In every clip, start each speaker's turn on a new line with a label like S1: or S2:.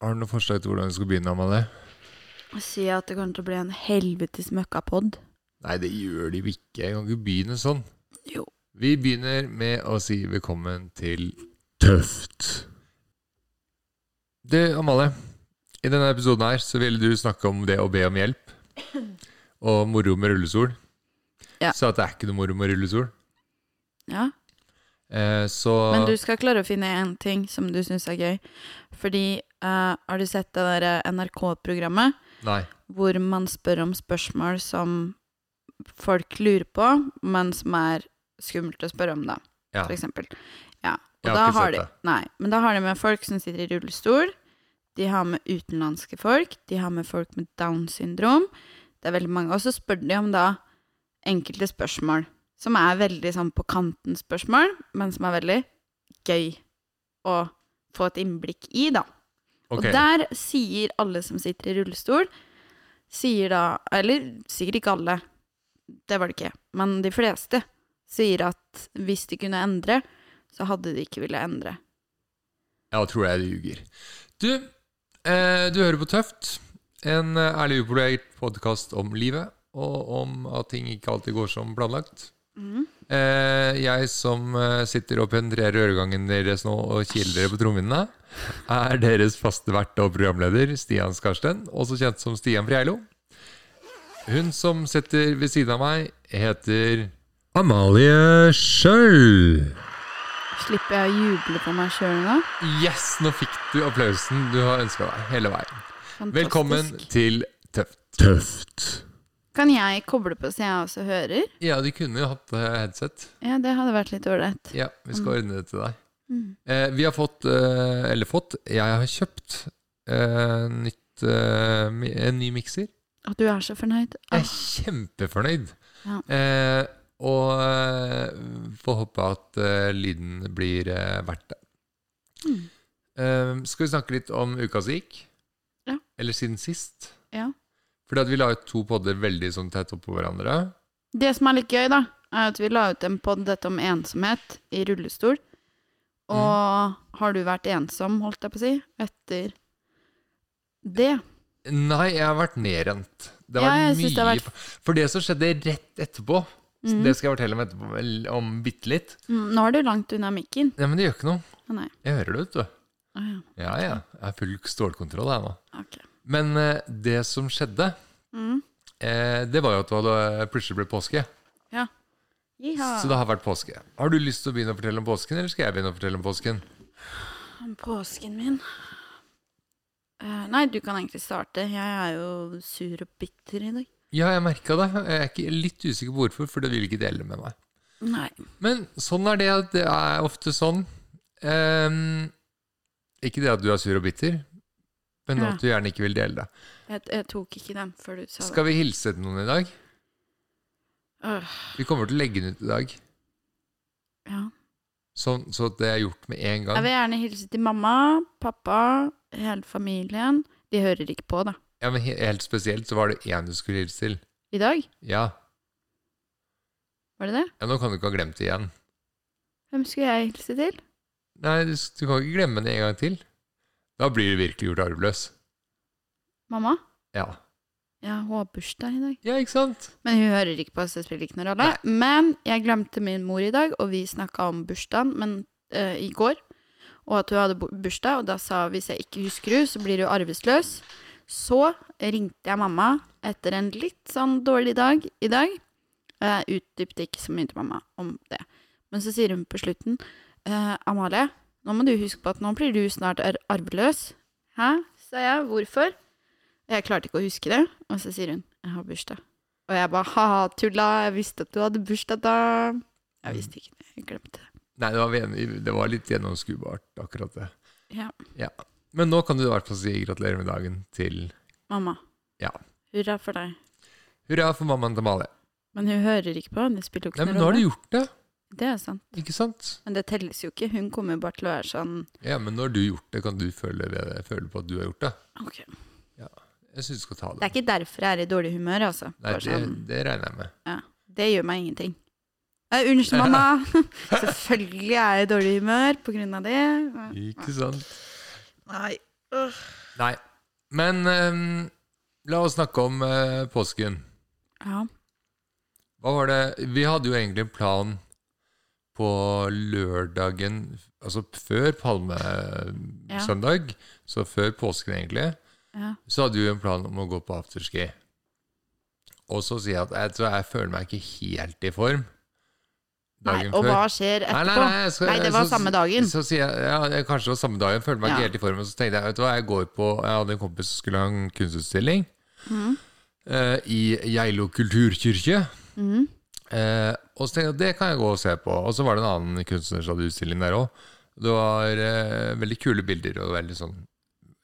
S1: Har du noe forslag til hvordan vi skal begynne, Amalie?
S2: Og si at det kommer til å bli en helvetes møkkapod.
S1: Nei, det gjør de jo ikke. Jeg kan ikke begynne sånn.
S2: Jo.
S1: Vi begynner med å si velkommen til Tøft. Du, Amalie. I denne episoden her så ville du snakke om det å be om hjelp. Og moro med rullestol.
S2: Ja.
S1: Så at det er ikke noe moro med rullestol.
S2: Ja.
S1: Eh, så
S2: Men du skal klare å finne én ting som du syns er gøy. Fordi eh, har du sett det eh, derre NRK-programmet
S1: Nei.
S2: hvor man spør om spørsmål som folk lurer på, men som er skummelt å spørre om, da,
S1: Ja.
S2: for eksempel. Ja. Og
S1: Jeg har
S2: da
S1: ikke
S2: har
S1: sett
S2: de,
S1: det.
S2: nei, men da har de med folk som sitter i rullestol. De har med utenlandske folk. De har med folk med Downs syndrom. Det er veldig mange. Og så spør de om da enkelte spørsmål som er veldig sånn på kanten spørsmål, men som er veldig gøy å få et innblikk i, da.
S1: Ok.
S2: Og der sier alle som sitter i rullestol, sier da Eller sikkert ikke alle, det var det ikke, men de fleste sier at hvis de kunne endre, så hadde de ikke villet endre.
S1: Ja, tror jeg det ljuger. Du, eh, du hører på Tøft. En eh, ærlig upolert podkast om livet, og om at ting ikke alltid går som planlagt. Eh, jeg som eh, sitter og penetrerer øregangen deres nå og kiler dere på trommehinnene, er deres faste vert og programleder, Stian Skarsten, også kjent som Stian Freilo. Hun som sitter ved siden av meg, heter Amalie Schjøll.
S2: Slipper jeg å juble for meg sjøl nå?
S1: Yes, nå fikk du applausen du har ønska deg hele veien.
S2: Fantastisk.
S1: Velkommen til Tøft. Tøft.
S2: Kan jeg koble på så jeg også hører?
S1: Ja, de kunne jo hatt eh, headset.
S2: Ja, det hadde vært litt ålreit.
S1: Ja, vi skal ordne det til deg.
S2: Mm.
S1: Eh, vi har fått, eh, eller fått, jeg har kjøpt eh, nytt, eh, mi- en ny mikser.
S2: At du er så fornøyd.
S1: Jeg
S2: Ah,
S1: er kjempefornøyd.
S2: Ja.
S1: Eh, og eh, får håpe at eh, lyden blir eh, verdt det.
S2: Mm.
S1: Eh, skal vi snakke litt om uka som gikk?
S2: Ja.
S1: Eller siden sist?
S2: ja.
S1: Fordi at vi la ut to podder veldig sånn tett oppå hverandre.
S2: Det som er litt gøy, da, er at vi la ut en podd dette om ensomhet i rullestol. Og har du vært ensom, holdt jeg på å si, etter det?
S1: Nei, jeg har vært nedrent. Det har
S2: Ja, jeg
S1: vært
S2: synes
S1: mye
S2: det har
S1: For det som skjedde rett etterpå, så
S2: Mhm.
S1: det skal jeg fortelle om etterpå, vel, om bitte litt.
S2: Mm, Nå er du langt unna mikken.
S1: Nei, men det gjør ikke noe.
S2: Å nei.
S1: Jeg hører det, vet du.
S2: Å ja.
S1: Ja, ja. Jeg har full stålkontroll her nå.
S2: Ok.
S1: Men eh, det som skjedde,
S2: Mm.
S1: eh, det var jo at det hadde- plutselig ble påske.
S2: Jiha.
S1: Så det har vært påske. Har du lyst til å begynne å fortelle om påsken, eller skal jeg begynne å fortelle om påsken?
S2: Påsken min Eh, Nei, du kan egentlig starte. Jeg er jo sur og bitter i dag.
S1: Ja, jeg merka det. Jeg er ikke litt usikker på hvorfor, for det vil ikke dele med meg.
S2: Nei.
S1: Men sånn er det. at Det er ofte sånn. Ehm, ikke det at du er sur og bitter, men
S2: Ja.
S1: at du gjerne ikke vil dele det.
S2: Jeg, jeg tok ikke den før du sa det.
S1: Skal vi hilse til noen i dag?
S2: Øh,
S1: Vi kommer til å legge den ut i dag,
S2: ja.
S1: sånn, så at det er gjort med en
S2: Jeg
S1: gang.
S2: vil gjerne hilse til mamma, pappa, hele familien. De hører ikke på, da.
S1: Ja, men he- Helt spesielt så var det én du skulle hilse til.
S2: I dag?
S1: Ja.
S2: Var det det?
S1: ja, nå kan du ikke ha glemt det igjen.
S2: Hvem skulle jeg hilse til?
S1: Nei, du, s- du kan ikke glemme det en gang til. Da blir du virkelig gjort arveløs.
S2: Mamma?
S1: Ja.
S2: Jeg har også bursdag i dag.
S1: ja, ikke sant?
S2: Men hun hører ikke på, så det spiller ikke noen rolle. Men jeg glemte min mor i dag, og vi snakka om bursdagen men, eh, i går. Og at hun hadde bu- bursdag, og da sa hvis jeg ikke husker henne, så blir hun arvesløs. Så ringte jeg mamma etter en litt sånn dårlig dag i dag. Jeg utdypte ikke så mye til mamma om det. Men så sier hun på slutten eh, Amalie, nå må du huske på at nå blir du snart ar arveløs. Hæ? sa jeg. Hvorfor? Jeg klarte ikke å huske det. Og så sier hun jeg har bursdag. Og jeg bare ha-ha, tulla, jeg visste at du hadde bursdag da.
S1: Mm.
S2: Jeg visste ikke det, jeg glemte det.
S1: Nei, det var, ven- det var litt gjennomskuebart, akkurat det.
S2: Ja.
S1: Men nå kan du i hvert fall si gratulerer med dagen til
S2: Mamma.
S1: Ja.
S2: Hurra for deg.
S1: Hurra for mammaen til Amalie.
S2: Men hun hører ikke på, det spiller jo
S1: Nei,
S2: ikke
S1: men
S2: noen
S1: nå har
S2: rolle.
S1: du gjort det,
S2: Det er sant.
S1: ikke sant?
S2: Men det telles jo ikke, hun kommer jo bare til å være sånn
S1: Ja, men når du har gjort det, kan du føle, ved- føle på at du har gjort det.
S2: Ok.
S1: Jeg syns du skal ta
S2: Det
S1: det.
S2: er ikke derfor jeg er i dårlig humør, altså.
S1: Nei,
S2: Bare
S1: det,
S2: sånn,
S1: det regner jeg med.
S2: det gjør meg ingenting. Eh, unnskyld, mamma! Selvfølgelig er jeg i dårlig humør på grunn av det.
S1: Ikke sant?
S2: Nei.
S1: Nei. Men eh, la oss snakke om eh, påsken.
S2: Ja.
S1: Hva var det Vi hadde jo egentlig en plan på lørdagen, altså før
S2: Ja.
S1: palmesøndag, så før påsken egentlig,
S2: ja.
S1: så hadde vi en plan om å gå på afterski. Og så sier jeg at jeg tror jeg føler meg ikke helt i form
S2: Nei,
S1: dagen
S2: og
S1: før.
S2: hva skjer etterpå?
S1: Nei, nei, nei, jeg skal-
S2: Nei, det var
S1: så-
S2: samme dagen.
S1: Så sier jeg, ja, jeg- Kanskje det var samme dagen. Følte meg ikke
S2: Ja.
S1: helt i form. Og så tenkte jeg vet du hva, jeg går på Jeg hadde en kompis som skulle ha en kunstutstilling
S2: Mhm.
S1: eh, i Geilo kulturkirke.
S2: Mhm.
S1: Eh, og så tenkte jeg, det kan jeg gå og se på. Og så var det en annen kunstner som hadde utstilling der òg. Det var eh, veldig kule bilder og veldig sånn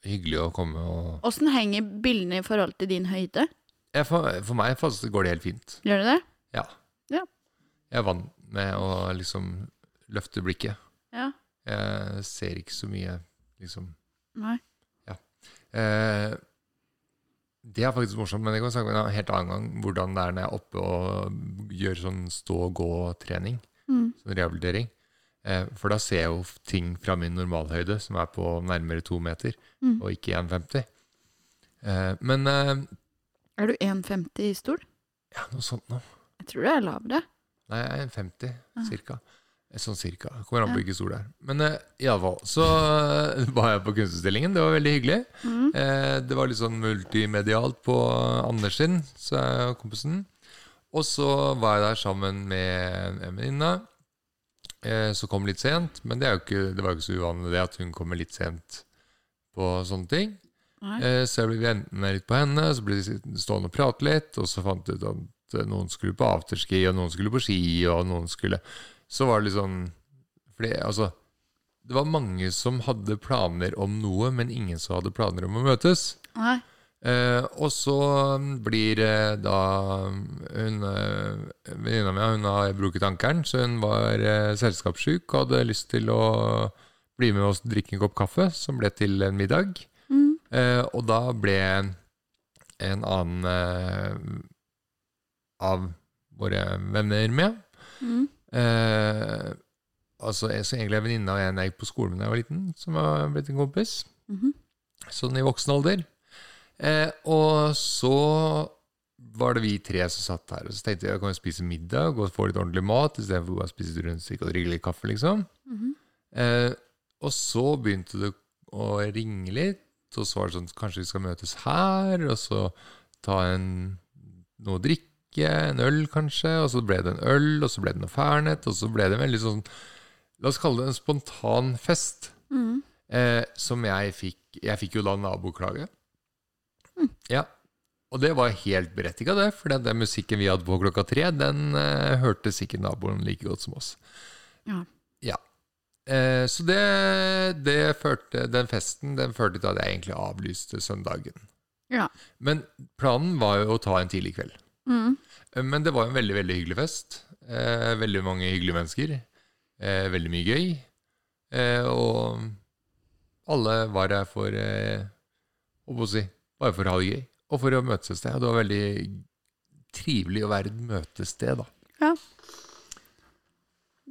S1: hyggelig å komme og
S2: Åssen henger bildene i forhold til din høyde?
S1: jeg, for, for meg faktisk går det helt fint.
S2: Gjør det det?
S1: Ja.
S2: Ja.
S1: Jeg er vant med å liksom løfte blikket.
S2: Ja.
S1: Jeg ser ikke så mye, liksom.
S2: Nei.
S1: Eh, det er faktisk morsomt, men det kan vi snakke om en helt annen gang. Hvordan det er når jeg er oppe og gjør sånn stå-gå-trening.
S2: Mhm.
S1: sånn rehabilitering. Eh, for da ser jeg jo f- ting fra min normalhøyde, som er på nærmere to meter,
S2: Mm.
S1: og ikke 1,50. Eh, men eh,
S2: Er du 1,50 i stol?
S1: ja, noe sånt nå.
S2: Jeg tror du er lavere.
S1: Nei, jeg er 1,50
S2: Ah.
S1: cirka. Eh, Sånn cirka. Det Kommer an på
S2: Ja.
S1: hvilken stol det er. Men eh, iallfall. Så eh, var jeg på kunstutstillingen. Det var veldig hyggelig.
S2: Mhm.
S1: Eh, det var litt sånn multimedialt på Anders sin, så er kompisen. Og så var jeg der sammen med en venninne, eh, som kom litt sent. Men det, er jo ikke, det var jo ikke så uvanlig det at hun kommer litt sent på sånne ting.
S2: Nei.
S1: Eh, så jeg ble ventende litt på henne, så ble vi stående og prate litt. Og så fant jeg ut at eh, noen skulle på afterski, og noen skulle på ski, og noen skulle Så var det litt sånn fordi, altså, Det var mange som hadde planer om noe, men ingen som hadde planer om å møtes.
S2: Nei.
S1: Eh, og så blir eh, da hun eh, Venninna mi hun har bruket ankelen, så hun var eh, selskapssjuk og hadde lyst til å bli med oss og drikke en kopp kaffe, som ble til en middag.
S2: Mhm.
S1: Eh, og da ble en annen eh, av våre venner med.
S2: Mhm.
S1: Eh, altså, jeg- så egentlig er venninna og en jeg gikk på skolen med da jeg var liten, som har blitt en kompis
S2: Mhm.
S1: sånn i voksen alder. Eh, og så var det vi tre som satt her, og så tenkte jeg kan vi spise middag og få litt ordentlig mat, istedenfor bare å spise et rundstykke og drikke litt kaffe, liksom.
S2: Mhm.
S1: Eh, og så begynte det å ringe litt, og så var det sånn kanskje vi skal møtes her, og så ta en, noe å drikke, en øl kanskje, og så ble det en øl, og så ble det noe fernet, og så ble det en veldig sånn, la oss kalle det en spontan fest.
S2: Mhm.
S1: Eh, som jeg fikk Jeg fikk jo da naboklage.
S2: Mm.
S1: Ja. Og det var helt berettiga, det. For den, den musikken vi hadde på klokka tre, den eh, hørte sikkert naboen like godt som oss.
S2: Ja.
S1: Ja. Eh, så det, det førte Den festen den førte til at jeg egentlig avlyste søndagen.
S2: Ja.
S1: Men planen var jo å ta en tidlig kveld.
S2: Mhm.
S1: Eh, Men det var en veldig, veldig hyggelig fest. Eh, veldig mange hyggelige mennesker. Eh, veldig mye gøy. Eh, og alle var her for eh, hva må jeg si, bare for å ha det gøy, og for å møtes et sted. Og det var veldig trivelig å være et møtested, da.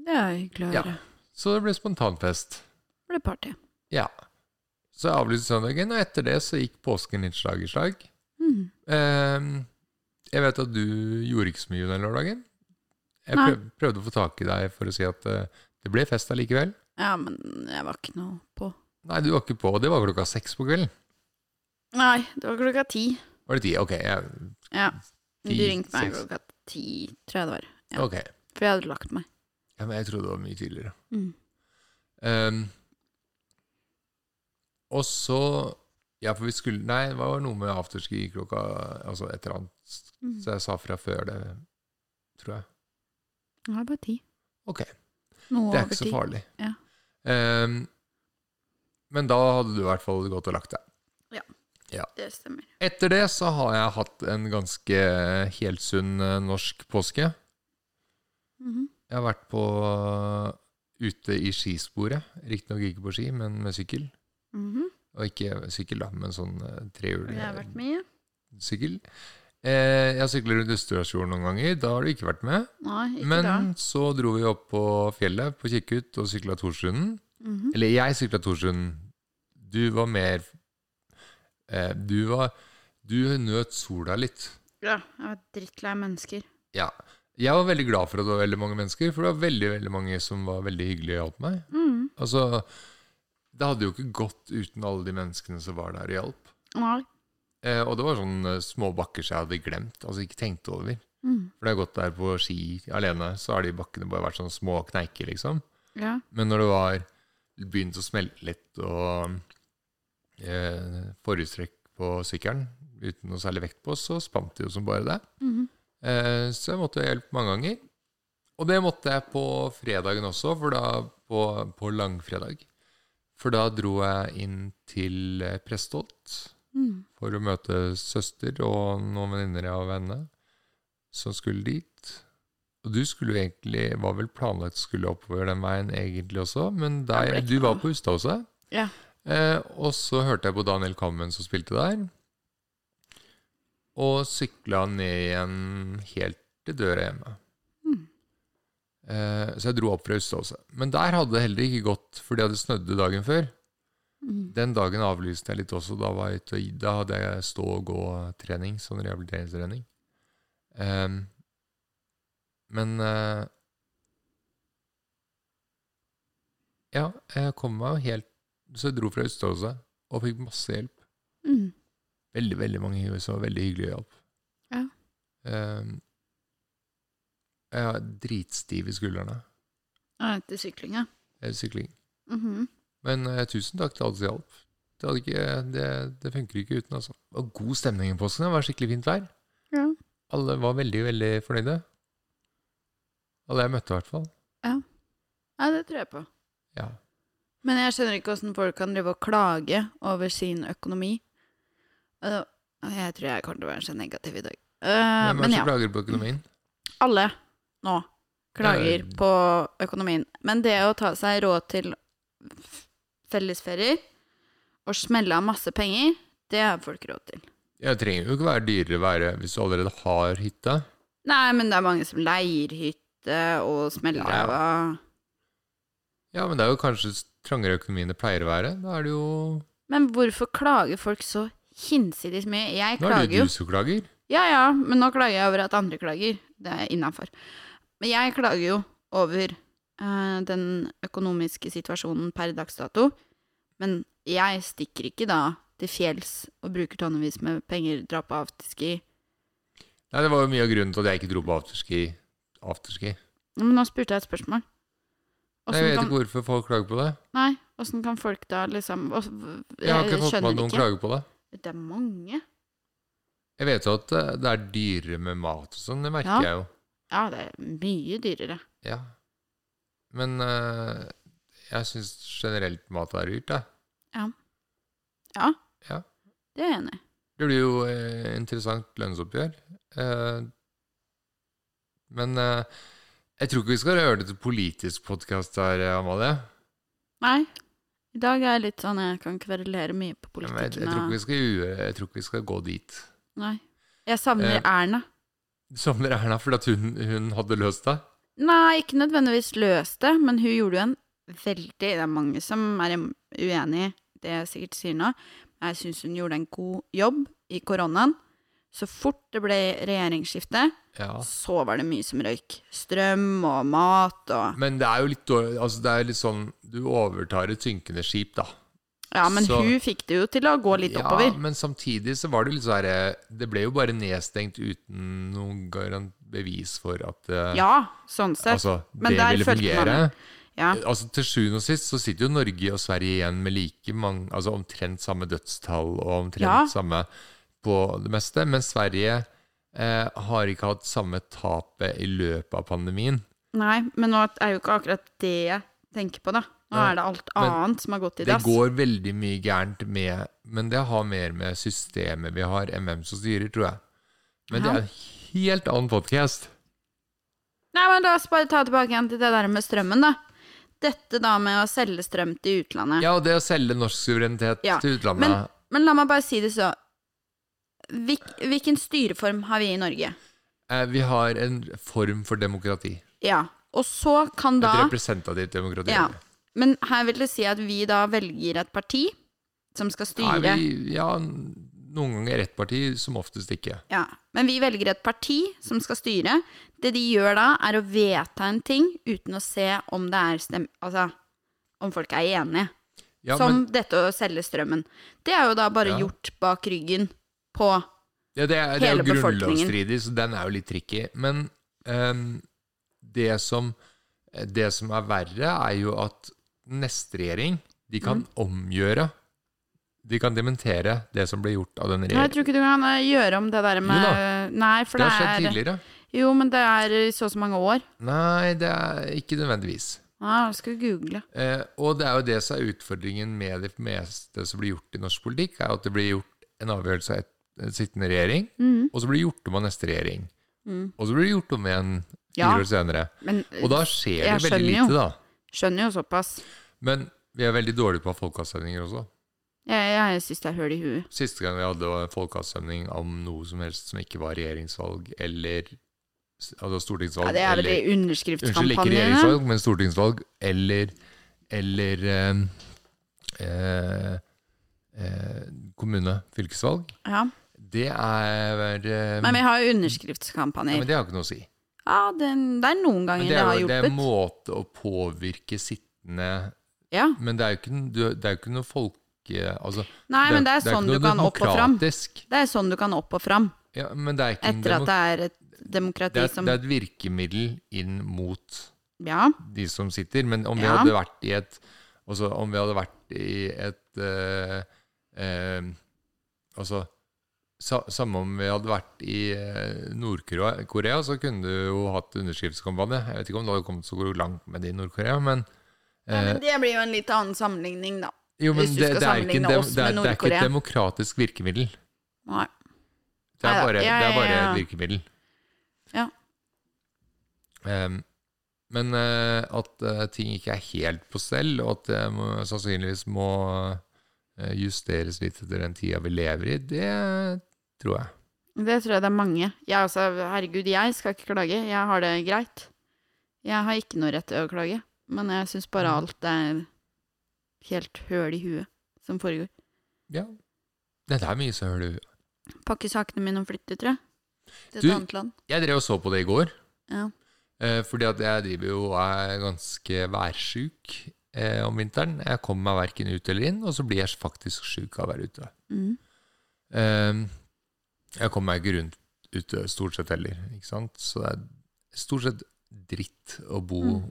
S2: Det er hyggelig å
S1: Ja.
S2: høre.
S1: Så det ble spontanfest.
S2: Ble party.
S1: Ja. Så jeg avlyste søndagen, og etter det så gikk påsken litt slag i slag.
S2: Mhm.
S1: Eh, jeg vet at du gjorde ikke så mye den lørdagen. Jeg
S2: Nei.
S1: prøv, prøvde å få tak i deg for å si at eh, det ble fest allikevel.
S2: Ja, men jeg var ikke noe på
S1: Nei, du var ikke på. Det var klokka seks på kvelden.
S2: Nei, det var klokka ti.
S1: Var det ti? Ok. Jeg,
S2: Ja. Du
S1: Ti,
S2: ringte meg
S1: seks.
S2: klokka ti, tror jeg det var. Ja.
S1: ok.
S2: For jeg hadde lagt meg.
S1: Ja, men jeg trodde det var mye tidligere.
S2: Mhm.
S1: Ehm, og så Ja, for vi skulle Nei, det var noe med afterski klokka Altså et eller annet.
S2: Mhm.
S1: Så jeg sa fra før det, tror jeg.
S2: Det var bare ti.
S1: Ok.
S2: Noe
S1: Det er ikke
S2: over
S1: så
S2: ti.
S1: farlig.
S2: Ja.
S1: Ehm, men da hadde du i hvert fall gått og lagt deg.
S2: Det stemmer.
S1: Etter det så har jeg hatt en ganske helsunn eh, norsk påske.
S2: Mhm.
S1: Jeg har vært på eh, ute i skisporet. Riktignok ikke på ski, men med sykkel.
S2: Mhm.
S1: Og ikke sykkel, da, men sånn eh, trehjul
S2: Jeg har
S1: eh,
S2: vært med.
S1: sykkel. Eh, jeg sykler rundt Østerdalsfjorden noen ganger. Da har du ikke vært med.
S2: Nei, ikke
S1: men
S2: da.
S1: så dro vi opp på fjellet på Kikkut og sykla Torstrunden.
S2: Mhm.
S1: Eller jeg sykla Torstrunden. Du var mer eh, du var Du nøt sola litt.
S2: Ja, jeg var drittlei mennesker.
S1: Ja. Jeg var veldig glad for at det var veldig mange mennesker, for det var veldig veldig mange som var veldig hyggelige og hjalp meg.
S2: Mm.
S1: Altså, Det hadde jo ikke gått uten alle de menneskene som var der og hjalp.
S2: Nei.
S1: Eh, og det var sånne små bakker som jeg hadde glemt, altså ikke tenkt over.
S2: Mm.
S1: For når jeg har gått der på ski alene, så har de bakkene bare vært sånne små kneiker, liksom.
S2: Ja.
S1: Men når det var begynt å smelte litt, og eh, forhjulstrekk på sykkelen uten noe særlig vekt på, så spant det jo som bare det.
S2: Mhm.
S1: Eh, så jeg måtte ha hjelp mange ganger. Og det måtte jeg på fredagen også, for da, på, på langfredag. For da dro jeg inn til eh, Prestholt
S2: Mm.
S1: for å møte søster og noen venninner av henne som skulle dit. Og du skulle jo egentlig, var vel planlagt skulle oppover den veien egentlig også, men
S2: Det ble
S1: der,
S2: ikke
S1: du var
S2: noe.
S1: på Ustadhuset.
S2: Ja.
S1: Eh, og så hørte jeg på Daniel Kammen som spilte der, og sykla ned igjen helt til døra hjemme.
S2: Mm.
S1: Eh, så jeg dro opp fra Ustadhuset. Men der hadde det heller ikke gått, for det hadde snødd dagen før.
S2: Mm.
S1: Den dagen avlyste jeg litt også. Da, var jeg ute, og- da hadde jeg stå- og gå-trening, sånn rehabiliteringstrening. Ehm, men eh, Ja, jeg kom meg jo helt Så jeg dro fra Øståse og fikk masse hjelp.
S2: Mm.
S1: Veldig, veldig mange som var veldig hyggelig hjelp.
S2: Ja.
S1: Ehm, jeg var dritstiv i skuldrene
S2: Ja, Etter syklinga.
S1: etter sykling.
S2: Mhm.
S1: Men eh, tusen takk til alle som hjalp. Det, hadde ikke, det, det funker ikke uten, altså. Det var god stemning i påsken. Det var skikkelig fint vær.
S2: Ja.
S1: Alle var veldig, veldig fornøyde. Alle jeg møtte, i hvert fall.
S2: ja, det tror jeg på.
S1: Ja.
S2: Men jeg skjønner ikke hvordan folk kan drive og klage over sin økonomi. Altså, Jeg tror jeg kommer til å være så negativ i dag. Eh,
S1: Hvem er
S2: men
S1: det
S2: ja,
S1: som klager på økonomien?
S2: alle nå klager
S1: Eh.
S2: på økonomien. Men det å ta seg råd til f- fellesferier og smelle av masse penger, det har folk råd til.
S1: Jeg trenger jo ikke være dyrere være hvis du allerede har hytte.
S2: Nei, men det er mange som leier hytte og smeller
S1: Ja, ja.
S2: av av
S1: Ja, men det er jo kanskje trangere økonomi enn det pleier å være. Da er det jo
S2: Men hvorfor klager folk så hinsides mye? Jeg
S1: Nå er
S2: klager
S1: det jo
S2: jo
S1: du som klager.
S2: Ja ja, men nå klager jeg over at andre klager. Det er innafor. Men jeg klager jo over eh, den økonomiske situasjonen per dags dato. Men jeg stikker ikke da til fjells og bruker tonnevis med penger, drar på afterski.
S1: Nei, det var jo mye av grunnen til at jeg ikke dro på afterski. afterski.
S2: Men nå spurte jeg et spørsmål.
S1: Nei, jeg
S2: Åssen
S1: vet
S2: kan,
S1: ikke hvorfor folk klager på det.
S2: nei, hvordan kan folk da liksom og-
S1: Jeg har ikke fått med
S2: skjønner
S1: meg at noen
S2: ikke.
S1: klager på det.
S2: Det er mange.
S1: Jeg vet jo at eh, det er dyrere med mat og sånn, det merker
S2: Ja.
S1: jeg jo.
S2: Ja, det er mye dyrere.
S1: Ja. Men eh, jeg syns generelt mat er dyrt, jeg.
S2: Det er jeg enig i.
S1: Det blir jo eh, interessant lønnsoppgjør. Eh, men eh, jeg tror ikke vi skal gjøre det til politisk podkast her, eh, Amalie.
S2: Nei. I dag er jeg litt sånn jeg kan kverulere mye på
S1: Men jeg, jeg,
S2: politikken.
S1: tror ikke
S2: og-
S1: vi skal gjøre, jeg tror ikke vi skal gå dit.
S2: Nei. Jeg savner
S1: Eh.
S2: Erna.
S1: Savner Erna fordi at hun, hun hadde løst det?
S2: Nei, ikke nødvendigvis løst det, men hun gjorde jo en veldig Det er mange som er im- uenig i det jeg sikkert sier nå. men Jeg syns hun gjorde en god jobb i koronaen. Så fort det ble regjeringsskifte,
S1: Ja.
S2: så var det mye som røyk. Strøm og mat og
S1: Men det er jo litt dårlig altså Det er litt sånn Du overtar et synkende skip, da.
S2: Ja, men
S1: Så-
S2: hun fikk det jo til å gå litt
S1: Ja,
S2: oppover.
S1: men samtidig så var det jo litt sånn her, Det ble jo bare nedstengt uten noen garan- bevis for at eh,
S2: Ja, sånn sett.
S1: altså,
S2: men
S1: det
S2: der
S1: ville
S2: følte man
S1: fungere.
S2: ja.
S1: Altså, til sjuende og sist så sitter jo Norge og Sverige igjen med like mange Altså omtrent samme dødstall og omtrent
S2: Ja.
S1: samme på det meste, men Sverige eh, har ikke hatt samme tapet i løpet av pandemien.
S2: Nei, men nå er jo ikke akkurat det jeg tenker på, da. Nå
S1: Nei,
S2: er det alt
S1: men
S2: annet som har gått i
S1: Det
S2: dass.
S1: går veldig mye gærent med Men det har mer med systemet vi har, enn hvem som styrer, tror jeg. Men det
S2: Ja.
S1: er en helt annen podkast.
S2: Nei, men la oss bare ta tilbake igjen til det der med strømmen, da. Dette da med å selge strøm til utlandet.
S1: Ja, og det å selge norsk suverenitet
S2: Ja,
S1: til utlandet.
S2: men- Men la meg bare si det så. Hvil- hvilken styreform har vi i Norge?
S1: eh, vi har en form for demokrati.
S2: Ja. Og så kan da
S1: Et representativt demokrati.
S2: Ja. Men her vil det si at vi da velger et parti som skal styre.
S1: Nei, vi, ja, noen ganger ett parti, som oftest ikke.
S2: Ja, Men vi velger et parti som skal styre. Det de gjør da, er å vedta en ting uten å se om det er stem... Altså, om folk er enige.
S1: Ja,
S2: som
S1: men,
S2: dette å selge strømmen. Det er jo da bare
S1: Ja.
S2: gjort bak ryggen på
S1: ja, det, er, det er jo
S2: hele befolkningen.
S1: grunnlovsstridig, så den er jo litt tricky. Men ehm, det, som, det som er verre, er jo at neste regjering de kan
S2: Mm.
S1: omgjøre De kan dementere det som ble gjort av den
S2: Nei, jeg
S1: regjeringen.
S2: tror ikke du kan eh, gjøre om det der med Nei, for
S1: Det
S2: det,
S1: har skjedd
S2: er
S1: tidligere.
S2: Jo, men det er i så og så mange år.
S1: Nei, det er ikke nødvendigvis.
S2: Nei, jeg skal google.
S1: Eh, og det er jo det som er utfordringen med det meste som blir gjort i norsk politikk, er jo at det blir gjort en avgjørelse av et, en sittende regjering,
S2: Mhm.
S1: og så blir det gjort om av neste regjering.
S2: Mm.
S1: Og så blir det gjort om igjen fire
S2: Ja.
S1: år senere.
S2: Men
S1: Og da skjer det veldig
S2: Jeg skjønner jo.
S1: lite, da.
S2: skjønner jo såpass.
S1: Men vi er veldig dårlige på å ha folkeavstemninger også.
S2: Jeg, jeg syns det er høl i huet.
S1: Siste gang vi hadde en folkeavstemning om noe som helst som ikke var regjeringsvalg eller altså stortingsvalg
S2: Ja, det er vel
S1: eller
S2: de
S1: Unnskyld, ikke
S2: underskriftskampanjene.
S1: regjeringsvalg, men stortingsvalg eller, eller eh, eh, eh, kommune, fylkesvalg.
S2: Ja.
S1: Det er eh,
S2: Men vi har jo
S1: ja,
S2: underskriftskampanjer.
S1: men det har ikke noe å si.
S2: Ja, det, det er noen
S1: Men
S2: ganger
S1: det
S2: det,
S1: er
S2: har
S1: jo det er en
S2: hjulpet.
S1: måte å påvirke sittende
S2: Ja.
S1: Men det er jo ikke, n- du- det er jo ikke noe folke... Altså,
S2: Nei, men det er
S1: jo ikke
S2: sånn du
S1: noe
S2: kan opp og fram.
S1: demokratisk.
S2: Det er sånn du kan opp og fram
S1: Ja, men det er ikke en
S2: etter at
S1: demo-
S2: det er liksom- et demokrati
S1: det er,
S2: som
S1: det er et virkemiddel inn mot
S2: Ja.
S1: de som sitter. Men om vi
S2: Ja.
S1: hadde vært i et Altså, om vi hadde vært i et eh, eh, Altså sa, Samme om vi hadde vært i eh, Nord-Korea, Korea, så kunne du jo hatt underskriftskampanje. Jeg vet ikke om du hadde kommet så langt med det i Nord-Korea, men
S2: Nei,
S1: eh,
S2: men det blir jo en litt annen sammenligning, da.
S1: Jo, men
S2: hvis du
S1: det,
S2: skal
S1: det, er ikke en
S2: sammenligne
S1: dem,
S2: oss
S1: det, er,
S2: med
S1: det er ikke
S2: Nord-Korea.
S1: et demokratisk virkemiddel.
S2: Nei.
S1: Det er
S2: Neida,
S1: bare,
S2: jeg-
S1: det er bare
S2: jeg-
S1: et virkemiddel.
S2: Ja.
S1: Em, Ehm, men eh, at eh, ting ikke er helt på stell, og at det må, sannsynligvis må eh, justeres litt etter den tida vi lever i, det tror jeg.
S2: Det tror jeg det er mange. Jeg altså, herregud, jeg skal ikke klage. Jeg har det greit. Jeg har ikke noe rett til å klage, men jeg syns bare
S1: Mhm.
S2: alt er helt høl i huet som foregår.
S1: Ja. Det er mye som hører du.
S2: Pakke sakene mine og flytte, tror jeg. Til et
S1: Du-
S2: annet land.
S1: Jeg drev og så på det i går.
S2: Ja.
S1: Eh, fordi at jeg driver jo og er ganske værsjuk eh, om vinteren. Jeg kommer meg verken ut eller inn, og så blir jeg faktisk sjuk av å være ute.
S2: Mm.
S1: Ehm, jeg kommer meg ikke rundt ute stort sett heller, ikke sant? Så det er stort sett dritt å bo
S2: Mm.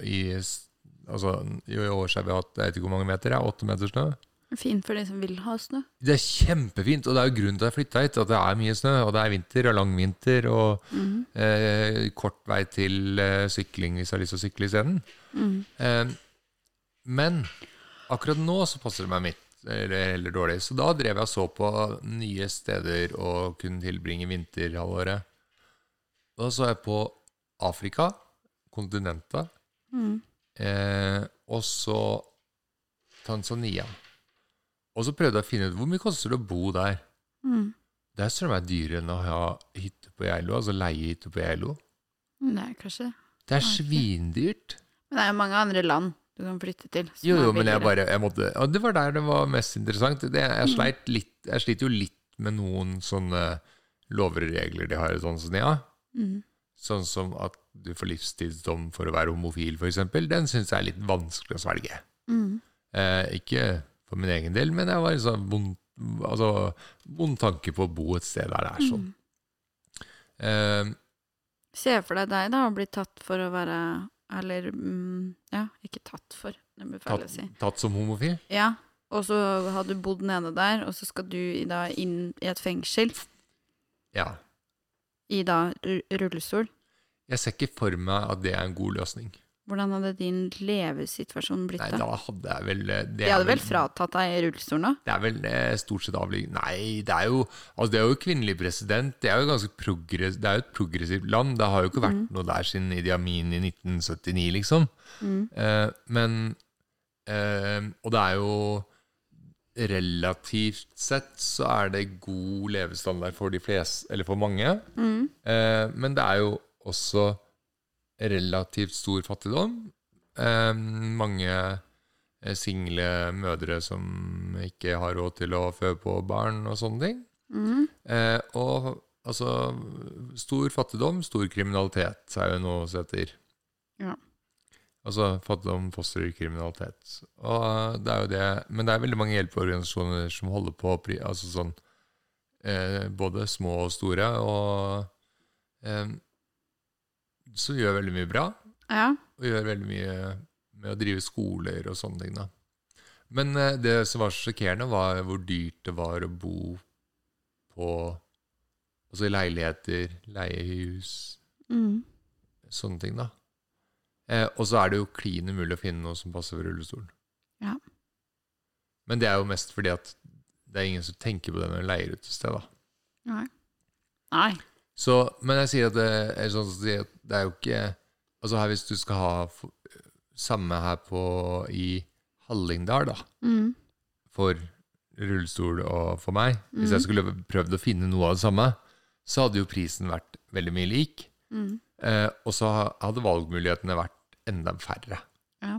S1: i s- Altså, i år så har vi hatt jeg vet ikke hvor mange meter, ja, åtte meter snø.
S2: Fint for de som vil ha snø.
S1: Det er kjempefint, og det er jo grunnen til at jeg flytta hit, at det er mye snø, og det er vinter og lang vinter, og
S2: Mhm.
S1: eh, kort vei til eh, sykling hvis jeg har lyst til å sykle isteden.
S2: Mhm.
S1: Ehm, men akkurat nå så passer det meg mitt, eller heller dårlig. Så da drev jeg og så på nye steder å kunne tilbringe vinterhalvåret. Da så jeg på Afrika, kontinentet,
S2: Mhm.
S1: eh, og så Tanzania. Og så prøvde jeg å finne ut hvor mye koster det å bo der.
S2: Mhm.
S1: Det er strømmer dyrere enn å ha hytte på Geilo, altså leie hytte på Geilo.
S2: Det er kanskje det.
S1: Det er
S2: Ok.
S1: svindyrt.
S2: Men det er jo mange andre land du kan flytte til. som
S1: Jo,
S2: er
S1: jo, men jeg
S2: billigere.
S1: bare jeg måtte, ja, Det var der det var mest interessant. Det, jeg,
S2: Mm.
S1: sleit litt, jeg sliter jo litt med noen sånne lover og regler de har i Tanzania.
S2: Mhm.
S1: Sånn som at du får livstidsdom for å være homofil, f.eks. Den syns jeg er litt vanskelig å svelge.
S2: Mhm.
S1: Eh, ikke for min egen del, men jeg var en sånn vond, altså, vond tanke på å bo et sted der det er sånn.
S2: Mhm. Mm.
S1: Eh,
S2: Se for deg deg, da, å bli tatt for å være Eller mm, ja, ikke tatt for, det blir feil å
S1: tatt,
S2: si.
S1: tatt som homofil.
S2: Ja, og så har du bodd nede der, og så skal du i, da inn i et fengsel
S1: Ja.
S2: i da ru- rullestol.
S1: Jeg ser ikke for meg at det er en god løsning.
S2: Hvordan hadde din levesituasjon blitt
S1: Nei,
S2: da?
S1: da hadde jeg vel eh, det
S2: De
S1: er
S2: hadde vel fratatt deg rullestolen da?
S1: Det er vel eh, stort sett avliggende Nei, det er jo, altså det er jo kvinnelig president. Det er jo, ganske progress, det er jo et progressivt land. Det har jo ikke vært noe der siden Idiamin i 1979, liksom.
S2: Mm.
S1: Eh, men eh, Og det er jo Relativt sett så er det god levestandard for de fleste, eller for mange.
S2: Mm.
S1: Eh, men det er jo også relativt stor fattigdom. Eh, mange eh, single mødre som ikke har råd til å føde på barn og sånne ting.
S2: Mm.
S1: Eh, og altså Stor fattigdom, stor kriminalitet er jo noe som heter.
S2: Ja.
S1: Altså fattigdom fostrer kriminalitet. Og eh, det er jo det Men det er veldig mange hjelpeorganisasjoner som holder på pri- altså sånn eh, Både små og store, og eh, så gjør veldig mye bra
S2: Ja.
S1: og gjør veldig mye med å drive skoler og sånne ting. da. Men eh, det som var så sjokkerende, var hvor dyrt det var å bo på altså i leiligheter, leiehus,
S2: Mm.
S1: sånne ting. da. Eh, og så er det jo klin umulig å finne noe som passer for rullestolen.
S2: Ja.
S1: Men det er jo mest fordi at det er ingen som tenker på det når de leier ut et sted. da.
S2: Nei.
S1: Så, men jeg sier at det er sånn som sier at det er jo ikke Altså her hvis du skal ha f- samme her på i Hallingdal, da,
S2: Mm.
S1: for rullestol og for meg Hvis
S2: Mhm.
S1: jeg skulle prøvd å finne noe av det samme, så hadde jo prisen vært veldig mye lik.
S2: Mm.
S1: Eh, og så ha- hadde valgmulighetene vært enda færre.
S2: Ja.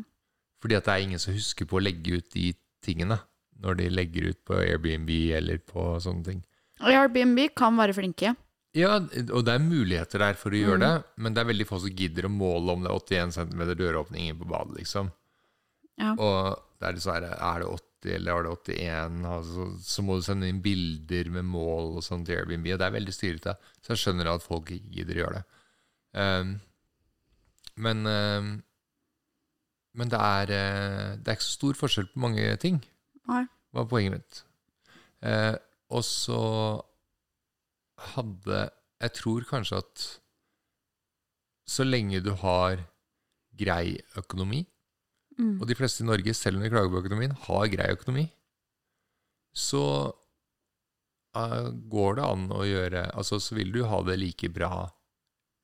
S1: Fordi at det er ingen som husker på å legge ut de tingene når de legger ut på Airbnb eller på sånne ting.
S2: Airbnb kan være flinke.
S1: Ja, og det er muligheter der for å gjøre det, men det er veldig få som gidder å måle om det er 81 cm døråpning inn på badet, liksom.
S2: Ja.
S1: Og det er dessverre Er det 80, eller er det 81? Altså, så må du sende inn bilder med mål og sånn til Airbnb, og det er veldig styrete. Så jeg skjønner at folk ikke gidder å gjøre det. Ehm, men ehm, men det, er, eh, det er ikke så stor forskjell på mange ting,
S2: Nei.
S1: var poenget mitt. Eh, og så hadde Jeg tror kanskje at så lenge du har grei økonomi,
S2: Mm.
S1: og de fleste i Norge, selv om de klager på økonomien, har grei økonomi, så eh, går det an å gjøre Altså, så vil du ha det like bra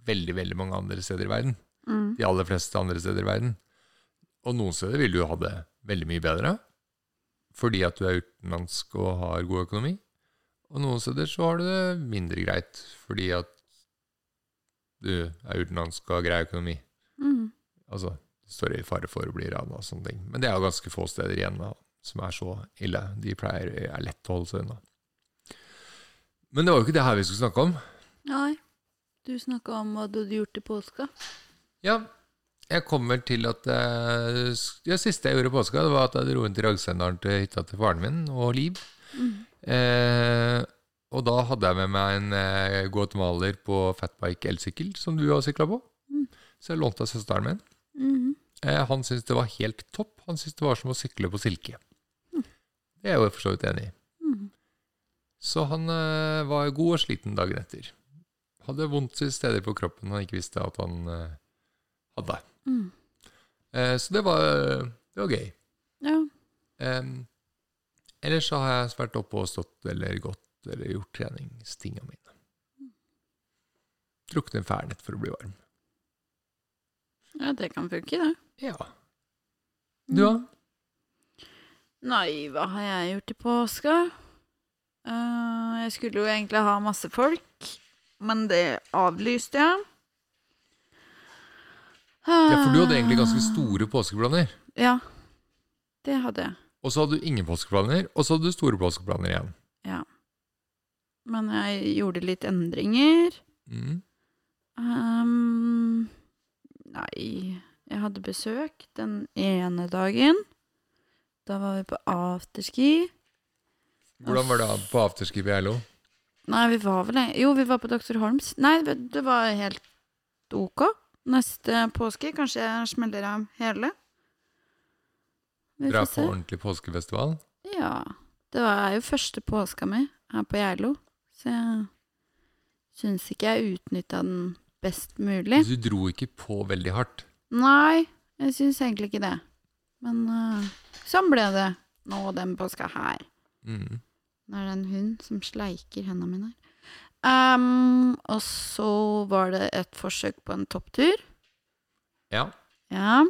S1: veldig, veldig mange andre steder i verden.
S2: Mm.
S1: De aller fleste andre steder i verden. Og noen steder vil du ha det veldig mye bedre, fordi at du er utenlandsk og har god økonomi. Og noen steder så har du det mindre greit, fordi at du er utenlandsk og har grei økonomi.
S2: Mm.
S1: Altså, det står i fare for å bli rana og sånne ting. Men det er jo ganske få steder igjen da, som er så ille. De pleier, er lett å holde seg unna. Men det var jo ikke det her vi skulle snakke om.
S2: Nei. Du snakka om hva du hadde gjort i påska.
S1: Ja, jeg kommer til at eh, s- Det siste jeg gjorde i påska, det var at jeg dro inn til Ragsendalen til hytta til faren min og Liv.
S2: Mm.
S1: Eh, og da hadde jeg med meg en eh, guatemaler på fatbike elsykkel, som du har sykla på.
S2: Mm.
S1: Så jeg lånte av søsteren min.
S2: Mm.
S1: Eh, han syntes det var helt topp. Han syntes det var som å sykle på silke.
S2: Mm.
S1: Det er jeg jo for så vidt enig i.
S2: Mm.
S1: Så han eh, var god og sliten dagen etter. Hadde vondt i steder på kroppen han ikke visste at han eh, hadde.
S2: Mm.
S1: Eh, så det var, det var gøy.
S2: Ja.
S1: Em, ellers så har jeg vært oppe og stått eller gått eller gjort treningstinga mine. Drukket en fernet for å bli varm.
S2: ja, det kan funke, det.
S1: Ja. Du, da?
S2: Nei, hva har jeg gjort i påska? Eh, jeg skulle jo egentlig ha masse folk, men det avlyste jeg.
S1: Ja, for du hadde egentlig ganske store påskeplaner.
S2: Eh, Ja, det hadde jeg.
S1: Og så hadde du ingen påskeplaner, og så hadde du store påskeplaner igjen.
S2: Men jeg gjorde litt endringer.
S1: Mm.
S2: Ehm, nei, jeg hadde besøk den ene dagen. Da var vi på afterski.
S1: Hvordan var det på afterski i LO?
S2: Nei, vi var vel en- Jo, vi var på Dr. Holms. Nei, det det var helt ok. Neste påske kanskje jeg smeller av hele. Vi
S1: Dra på
S2: får se.
S1: ordentlig påskefestival?
S2: Ja. Det var jo første påska mi her på Geilo, så jeg syns ikke jeg utnytta den best mulig.
S1: Du dro ikke på veldig hardt.
S2: Nei, jeg syns egentlig ikke det. Men eh, sånn ble det nå den påska her.
S1: Mm.
S2: Nå er det en hund som sleiker hendene mine. Ehm, og så var det et forsøk på en topptur.
S1: Ja,
S2: Ja.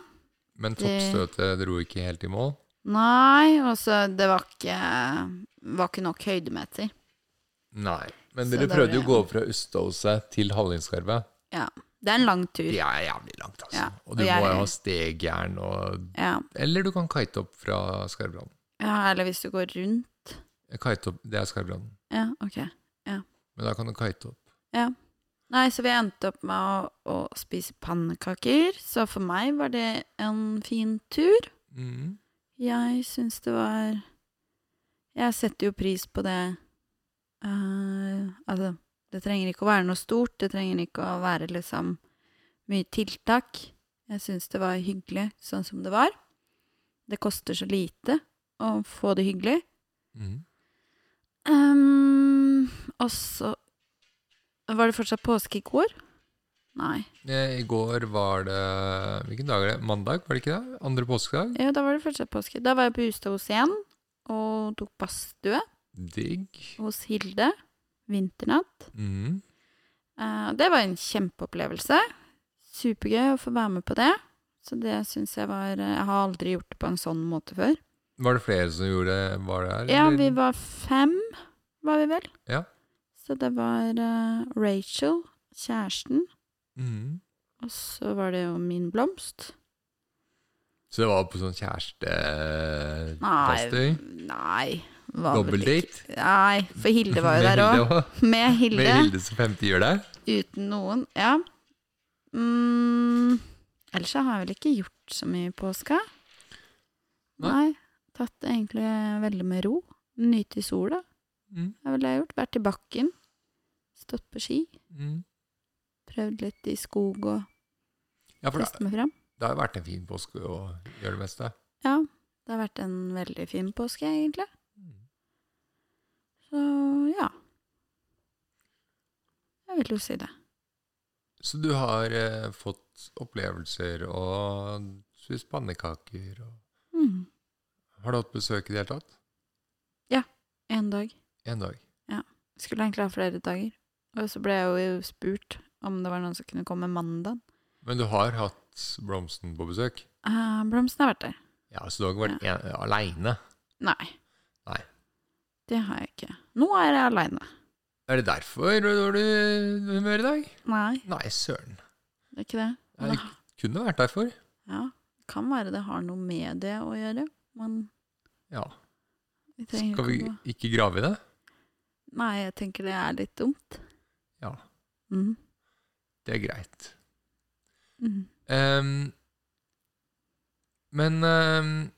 S1: men
S2: Det-
S1: toppstøtet dro ikke helt i mål.
S2: Nei, og så det var ikke, var ikke nok høydemeter.
S1: Nei, men
S2: Så
S1: dere
S2: da
S1: prøvde jo
S2: ble-
S1: å gå fra Ustaoset til Hallingskarvet.
S2: Ja. Det er en lang tur.
S1: Det er jævlig langt, altså.
S2: Ja,
S1: Og du
S2: og jeg
S1: må
S2: er-
S1: jo ha stegjern og
S2: Ja.
S1: Eller du kan kite opp fra Skarbladen.
S2: ja, eller hvis du går rundt.
S1: Kite opp, det er Skarbladen.
S2: Ja, ok.
S1: Men da kan du kite opp.
S2: Nei, så vi endte opp med å, å spise pannekaker, så for meg var det en fin tur.
S1: Mhm.
S2: Jeg syns det var Jeg setter jo pris på det eh, Altså, det trenger ikke å være noe stort, det trenger ikke å være liksom mye tiltak. Jeg syns det var hyggelig sånn som det var. Det koster så lite å få det hyggelig.
S1: Mhm.
S2: Um, og så Var det fortsatt påske i går? Nei.
S1: Eh, I går var det Hvilken dag er det? Mandag, var det ikke det? Andre påskedag?
S2: Ja, da var det fortsatt påske. Da var jeg på Hustad hos igjen og tok badstue
S1: Digg.
S2: hos Hilde. Vinternatt.
S1: Mhm.
S2: Eh, det var en kjempeopplevelse. Supergøy å få være med på det. Så det syns jeg var eh, Jeg har aldri gjort det på en sånn måte før.
S1: Var det flere som gjorde det? Var det her?
S2: Ja,
S1: eller?
S2: vi var fem, var vi vel.
S1: Ja.
S2: Så det var eh, Rachel, kjæresten,
S1: Mhm.
S2: og så var det jo min blomst.
S1: Så det var på sånn kjæreste
S2: Nei. Nei. var vel ikke-
S1: Dobbeldate?
S2: Nei, for Hilde var jo
S1: Med
S2: der òg.
S1: Hilde også.
S2: Med Hilde.
S1: Med Hilde som femte gjør der?
S2: Uten noen, ja. Mm, ellers så har jeg vel ikke gjort så mye i påska.
S1: Nei.
S2: Nei. Tatt det egentlig veldig med ro. Nyte i sola
S1: Mhm.
S2: er vel det jeg har gjort. Vært i bakken. Stått på ski.
S1: Mhm.
S2: Prøvd litt i skog og
S1: Ja, for det,
S2: test meg fram.
S1: det har jo vært en fin påske å gjøre det meste.
S2: Ja, det har vært en veldig fin påske, egentlig.
S1: Mhm.
S2: Så ja. Jeg vil jo si det.
S1: Så du har eh, fått opplevelser og spist pannekaker og
S2: Mm.
S1: Har du hatt besøk i det hele tatt?
S2: En dag.
S1: Én dag.
S2: Skulle egentlig ha flere dager. Og så ble jeg jo spurt om det var noen som kunne komme mandag.
S1: Men du har hatt Blomsten på besøk?
S2: Uh, Blomsten har vært der.
S1: Ja, så du har ikke vært en- aleine?
S2: Nei.
S1: Nei.
S2: Det har jeg ikke. Nå er jeg aleine.
S1: Er det derfor du er dårlig humør i dag?
S2: Nei,
S1: Nei, søren.
S2: det er ikke det.
S1: Det
S2: Men-
S1: kunne vært derfor.
S2: Ja, kan være det har noe med det å gjøre, men
S1: Ja.
S2: vi trenger
S1: Skal vi
S2: ikke å
S1: ikke grave i det?
S2: Nei, jeg tenker det er litt dumt.
S1: Ja.
S2: Mm.
S1: Det er greit.
S2: Mm.
S1: Ehm, men ehm,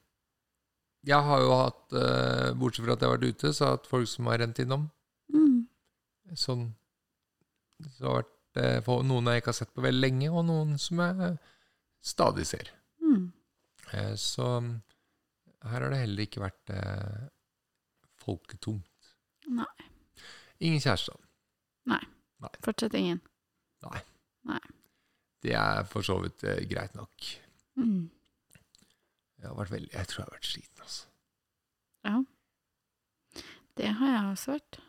S1: jeg har jo hatt, eh, bortsett fra at jeg har vært ute, så har jeg hatt folk som har rent innom.
S2: Mm.
S1: Sånn, så har det vært eh, få- noen jeg ikke har sett på veldig lenge, og noen som jeg eh, stadig ser.
S2: Mm.
S1: Eh, Så mm, her har det heller ikke vært eh, folketomt.
S2: Nei.
S1: Ingen kjæreste.
S2: Fortsatt ingen.
S1: Det er for så vidt eh, greit nok.
S2: Mm.
S1: Jeg, har vært veldig, jeg tror jeg har vært sliten, altså.
S2: Det har jeg også vært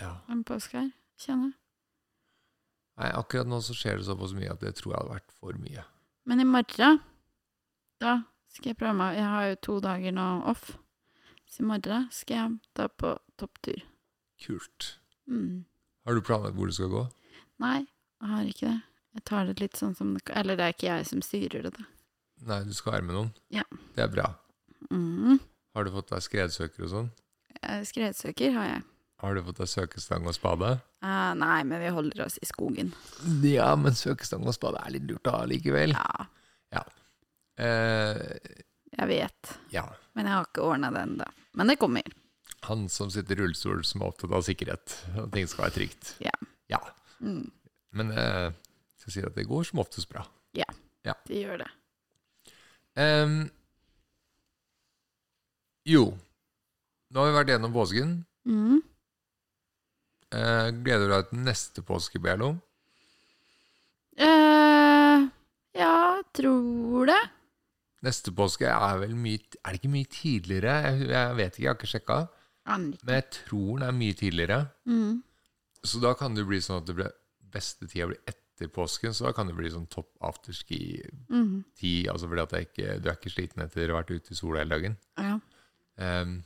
S1: Ja.
S2: en påske her, kjenner jeg.
S1: Nei, akkurat nå så skjer det såpass mye at det tror jeg hadde vært for mye.
S2: Men i morgen, da skal jeg prøve meg. Jeg har jo to dager nå off. Så i morgen skal jeg ta på topptur.
S1: Kult.
S2: Mm.
S1: Har du planlagt hvor du skal gå?
S2: Nei, jeg har ikke det. Jeg tar det litt sånn som det Eller det er ikke jeg som styrer det, da.
S1: Nei, du skal være med noen?
S2: Ja.
S1: Det er bra.
S2: Mm.
S1: Har du fått deg skredsøker og sånn?
S2: Eh, Skredsøker har jeg.
S1: Har du fått deg søkestang og spade?
S2: Eh, nei, men vi holder oss i skogen.
S1: Ja, men søkestang og spade er litt lurt å ha likevel.
S2: Ja,
S1: Eh,
S2: jeg vet.
S1: ja.
S2: Men jeg har ikke ordna det ennå. Men det kommer.
S1: Han som sitter i rullestol, som er opptatt av sikkerhet. At ting skal være trygt.
S2: Ja. Mm.
S1: Men eh, skal si at det går som oftest bra.
S2: Det gjør det.
S1: Em, jo. Nå har vi vært gjennom påsken.
S2: Mm.
S1: Eh, gleder du deg til neste påske, Bjørlo?
S2: Eh, ja, tror det.
S1: Neste påske er vel mye Er det ikke mye tidligere? Jeg, jeg vet ikke, jeg har ikke sjekka.
S2: Aner ikke.
S1: Men jeg tror den er mye tidligere.
S2: Mm.
S1: Så da kan det bli sånn at det blir beste tida blir etter påsken. Så da kan det bli sånn topp afterski-tid.
S2: Mm.
S1: Altså fordi at jeg ikke, du er ikke sliten etter å ha vært ute i sola hele dagen.
S2: Ja.
S1: Ehm,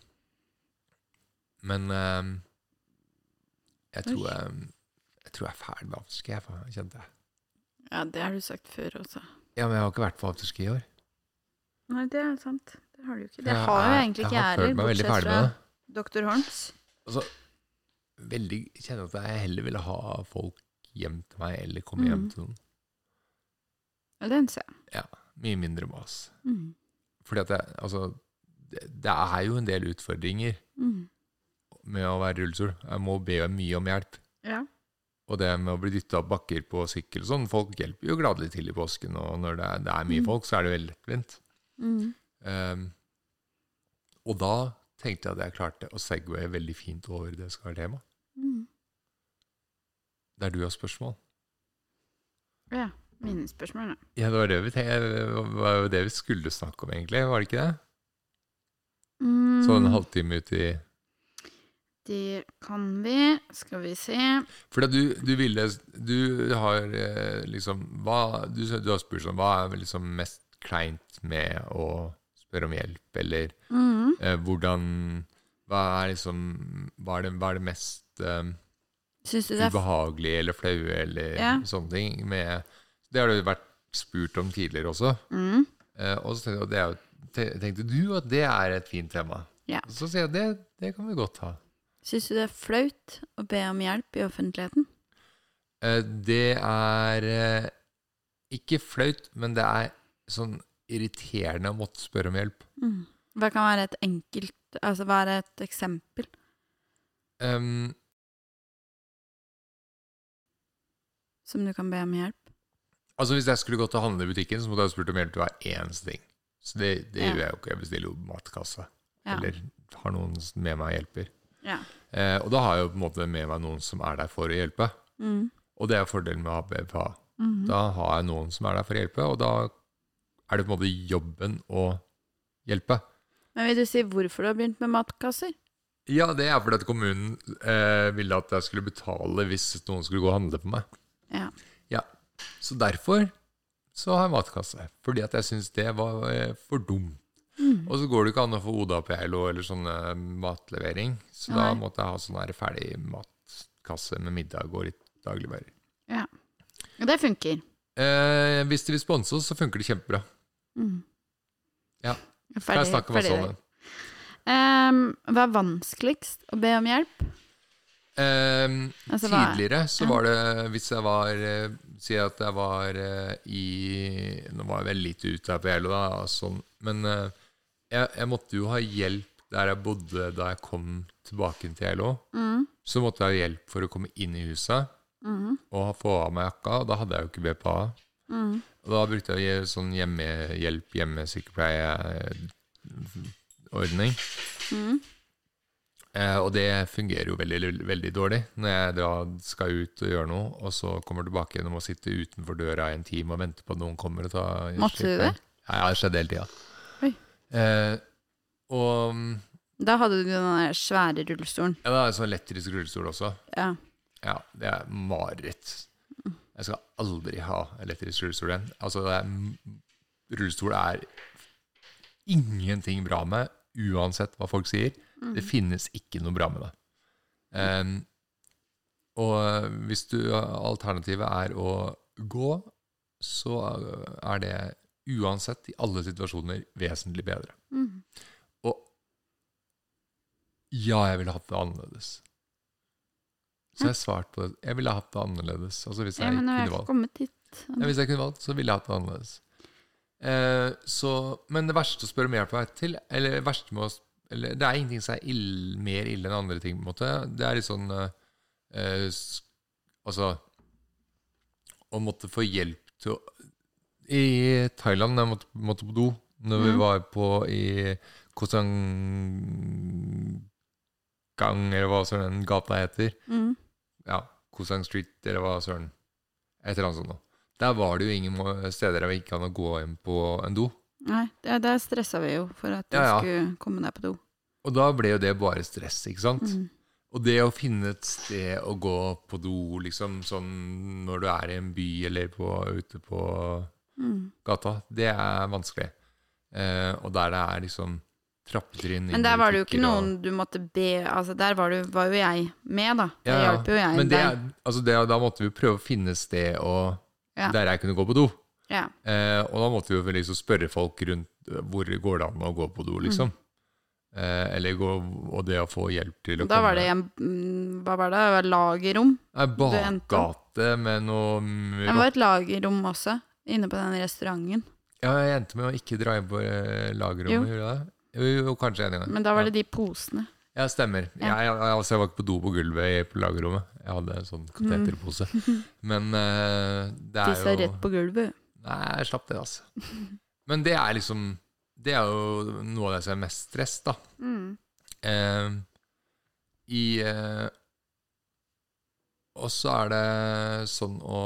S1: men ehm, jeg, tror,
S2: Oi.
S1: jeg, jeg tror jeg er ferdig med afterski, jeg, faen, kjente jeg.
S2: Ja, det har du sagt før også.
S1: Ja, men jeg har ikke vært på afterski i år.
S2: Nei, det er sant. Det har du ikke. Det
S1: Jeg
S2: har jo
S1: er-
S2: egentlig ikke jeg
S1: har følt
S2: heller,
S1: meg veldig
S2: bortsett
S1: ferdig med
S2: fra
S1: det.
S2: Dr. Horns.
S1: Veldig, jeg kjenner at jeg heller ville ha folk hjem til meg, eller komme hjem
S2: Mhm.
S1: til noen.
S2: Ja, den ser jeg.
S1: Mye mindre mas.
S2: Mm.
S1: Fordi at jeg, altså, det, det er jo en del utfordringer
S2: Mm.
S1: med å være i rullestol. Jeg må be mye om hjelp.
S2: Ja.
S1: Og det med å bli dytta opp bakker på sykkel og sånn, folk hjelper jo gladelig til i påsken. Og når det er, det er mye
S2: Mm.
S1: folk, så er det veldig lettvint.
S2: Mm.
S1: Ehm, og da tenkte jeg at jeg klarte å segwaye veldig fint over det som er tema.
S2: Mm.
S1: Der du har spørsmål.
S2: Ja. Mine spørsmål, da.
S1: Ja, det var det vi, tenkte, det var jo det vi skulle snakke om, egentlig. Var det ikke det?
S2: Mm.
S1: Så en halvtime ut i
S2: Det kan vi. Skal vi se.
S1: For at du, du ville Du har eh, liksom hva, du, du har spurt sånn Hva er liksom mest kleint med å spørre om hjelp, eller
S2: Mm.
S1: eh, hvordan Hva er liksom Hva er det, hva er det mest eh,
S2: Syns du det er f-
S1: ubehagelige eller flaue eller
S2: Ja.
S1: sånne ting med Det har du vært spurt om tidligere også.
S2: mm.
S1: Eh, og så tenkte, jeg, at det er, jo- te- tenkte du at det er et fint tema.
S2: Ja.
S1: Så sier jeg det, det kan vi godt ha.
S2: Syns du det er flaut å be om hjelp i offentligheten?
S1: Eh, Det er eh, ikke flaut, men det er sånn irriterende å måtte spørre om hjelp.
S2: Mm. Hva kan være et enkelt Altså hva er et eksempel?
S1: Em,
S2: som du kan be om hjelp.
S1: altså Hvis jeg skulle gått og handle i butikken, så måtte jeg ha spurt om hjelp til hver eneste ting. Så det, det
S2: Ja.
S1: gjør jeg jo ikke. Jeg bestiller jo matkassa.
S2: Ja.
S1: Eller har noen som med meg hjelper.
S2: Ja.
S1: Eh, og da har jeg jo på en måte med meg noen som er der for å hjelpe.
S2: Mm.
S1: Og det er fordelen med ABPA.
S2: Mhm.
S1: Da har jeg noen som er der for å hjelpe, og da er det på en måte jobben å hjelpe.
S2: Men vil du si hvorfor du har begynt med matkasser?
S1: Ja, det er fordi at kommunen eh, ville at jeg skulle betale hvis noen skulle gå og handle på meg.
S2: Ja.
S1: Ja, Så derfor så har jeg matkasse. Fordi at jeg syns det var eh, for dumt.
S2: Mm.
S1: Og så går det ikke an å få Oda-PLO eller sånn eh, matlevering, så da
S2: Nei.
S1: måtte jeg ha sånn her ferdig matkasse med middag og litt dagligvarer.
S2: Og det funker.
S1: Eh, hvis de vil sponse oss, så funker det kjempebra.
S2: Mm.
S1: Ja.
S2: Ferdig,
S1: Kan jeg snakke masse
S2: ferdig
S1: om
S2: der.
S1: det?
S2: Ehm, hva er vanskeligst å be om hjelp?
S1: Eh,
S2: Altså, hva er-
S1: Tidligere så
S2: ja.
S1: var det Hvis jeg var eh, Si at jeg var eh, i Nå var jeg vel litt ute her på Gjælo, da, og sånn, men eh, jeg, jeg måtte jo ha hjelp der jeg bodde da jeg kom tilbake til Gjælo.
S2: Mm.
S1: Så måtte jeg ha hjelp for å komme inn i huset
S2: Mhm.
S1: og ha- få av meg jakka, og da hadde jeg jo ikke BPA.
S2: Mm.
S1: Og da brukte jeg jo sånn hjemmehjelp, eh, hjemmesykepleieordning.
S2: Mm.
S1: Eh, og det fungerer jo veldig, veldig dårlig når jeg da skal ut og gjøre noe, og så kommer tilbake igjen og må sitte utenfor døra i en time og vente på at noen kommer og tar
S2: Måtte du det?
S1: Ja, ja, det skjedde hele tida.
S2: Oi.
S1: Eh, og
S2: Da hadde du den der svære rullestolen.
S1: ja, det er en sånn elektrisk rullestol også.
S2: Ja.
S1: Ja, det er mareritt. Jeg skal aldri ha elektrisk rullestol igjen. Altså, det er, rullestol er ingenting bra med, uansett hva folk sier.
S2: Mm.
S1: Det finnes ikke noe bra med det. Ehm, og hvis du alternativet er å gå, så er det uansett i alle situasjoner vesentlig bedre.
S2: Mm.
S1: Og ja, jeg ville hatt det annerledes. Så jeg svarte på det. Jeg ville hatt det annerledes. Altså hvis
S2: ja,
S1: jeg
S2: men nå har
S1: kunne
S2: jeg ikke
S1: valgt.
S2: kommet dit.
S1: Ja, hvis jeg kunne valgt, så ville jeg hatt det annerledes. Eh, så, men det verste å spørre mer på vei til, eller det verste med å sp- eller, Det er ingenting som er ill, mer ille enn andre ting, på en måte. Det er litt sånn eh, eh, sk- Altså Å måtte få hjelp til å I Thailand, da jeg måtte, måtte på do, når vi
S2: Mhm.
S1: var på i Koh Gang, eller hva søren den gata heter
S2: Mm.
S1: ja, Kosang Street, eller hva søren. Et eller annet sånt. noe. Der var det jo ingen må- steder der vi ikke kan gå inn på en do.
S2: Nei, det, der stressa vi jo for at du
S1: Ja, ja.
S2: skulle komme deg på do.
S1: Og da ble jo det bare stress, ikke sant?
S2: Mm.
S1: Og det å finne et sted å gå på do, liksom sånn når du er i en by eller på, ute på
S2: Mm.
S1: gata, det er vanskelig. Eh, og der det er liksom trappetrinn inn
S2: Men der
S1: i
S2: var det jo ikke
S1: butikker og-
S2: noen du måtte be Altså, der var, du, var jo jeg med, da. Det
S1: Ja, ja.
S2: hjalp jo jeg
S1: Men det,
S2: deg.
S1: er- altså det, da måtte vi prøve å finne sted å
S2: Ja.
S1: der jeg kunne gå på do.
S2: Ja.
S1: Eh, og da måtte vi jo liksom spørre folk rundt eh, hvor går det an å gå på do, liksom. Eh, eller gå, og det å få hjelp til å
S2: Mm. Da
S1: komme
S2: var det en mm, Hva var det? Det var lagerrom.
S1: Nei,
S2: endte opp.
S1: bakgate med noe mm,
S2: Det var et lagerrom også, inne på den restauranten.
S1: Ja, jeg endte med å ikke dra inn på eh,
S2: Jo.
S1: lagerrommet. Gjorde jeg det? Jo, jo, jo, kanskje en gang.
S2: Men da var
S1: ja.
S2: det de posene.
S1: Ja, stemmer.
S2: Ja.
S1: Jeg, jeg, jeg, altså, jeg var ikke på do på gulvet i på lagerrommet. Jeg hadde en sånn kateterpose.
S2: Mm.
S1: Men eh, det er
S2: Tissa
S1: jo
S2: rett på gulvet.
S1: Nei, jeg slapp det, altså. Men det er liksom Det er jo noe av det som er mest stress, da.
S2: Mm.
S1: Eh, I eh, Og så er det sånn å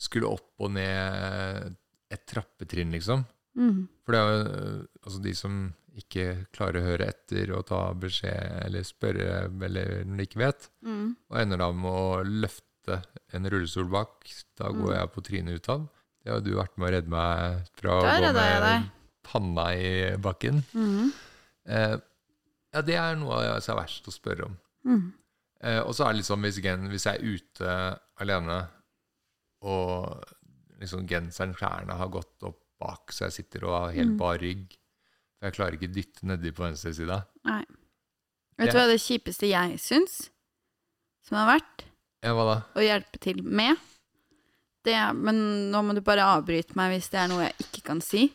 S1: skulle opp og ned et trappetrinn, liksom.
S2: Mm.
S1: For det er jo øh, altså de som ikke klarer å høre etter og ta beskjed eller spørre eller når de ikke vet,
S2: Mm.
S1: og ender da med å løfte en rullestol bak. Da går
S2: Mm.
S1: jeg på trynet ut av den. Det har jo du vært med å redde meg fra å
S2: Der
S1: gå
S2: redda jeg
S1: med
S2: deg.
S1: panna i bakken.
S2: Mm.
S1: Eh, ja, det er noe av det som er verst å spørre om.
S2: Mm.
S1: Eh, og så er det liksom hvis, gen, hvis jeg er ute alene, og liksom genseren, klærne har gått opp bak, så jeg sitter og har helt
S2: Mm.
S1: bar rygg For jeg klarer ikke dytte nedi på venstre sida.
S2: Vet du
S1: Ja.
S2: hva det kjipeste jeg syns, som har vært
S1: Ja, hva da?
S2: å hjelpe til med det, er- Men nå må du bare avbryte meg hvis det er noe jeg ikke kan si.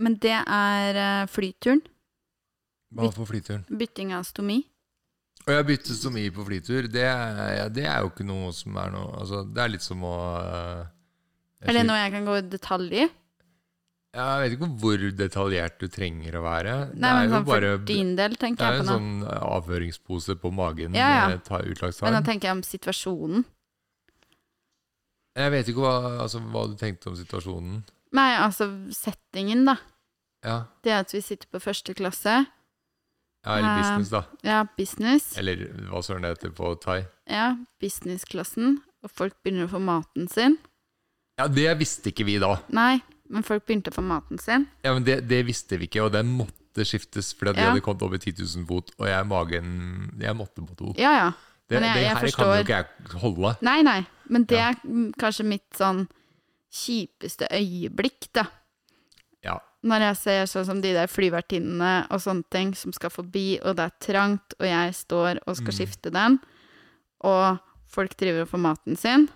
S2: Men det er eh, flyturen.
S1: Hva på flyturen?
S2: Bytting av stomi.
S1: Og jeg bytter stomi på flytur. Det, er- ja, det er jo ikke noe som er noe Altså, det er litt som å eh,
S2: Er det noe jeg kan gå i detalj i?
S1: Ja, Jeg vet ikke hvor detaljert du trenger å være.
S2: Nei,
S1: det
S2: men
S1: er jo
S2: sånn
S1: bare
S2: for din del,
S1: Det
S2: tenker
S1: er
S2: jeg
S1: jo
S2: på
S1: en
S2: nå.
S1: sånn avføringspose på magen.
S2: Ja, ja.
S1: eh, Ta utlagstarm.
S2: Men nå tenker jeg om situasjonen.
S1: Jeg vet ikke hva, altså, hva du tenkte om situasjonen.
S2: Nei, altså settingen, da.
S1: Ja,
S2: Det at vi sitter på første klasse.
S1: ja Eller
S2: Eh,
S1: business, da.
S2: Ja, business.
S1: Eller hva søren det heter på thai.
S2: Ja, businessklassen. Og folk begynner å få maten sin.
S1: Ja, Det visste ikke vi da.
S2: Nei, men folk begynte å få maten sin.
S1: Ja, men Det, det visste vi ikke, og den måtte skiftes. For de
S2: Ja.
S1: hadde kommet over 10 000 fot, og jeg magen Jeg måtte på do.
S2: Ja, ja.
S1: Det,
S2: men jeg-
S1: det her
S2: jeg
S1: kan
S2: forstår.
S1: jo ikke jeg holde.
S2: Nei, nei. Men det
S1: Ja.
S2: er mm, kanskje mitt sånn kjipeste øyeblikk, da.
S1: Ja.
S2: Når jeg ser sånn som de der flyvertinnene og sånne ting som skal forbi, og det er trangt, og jeg står og skal
S1: Mm.
S2: skifte den, og folk driver og får maten sin.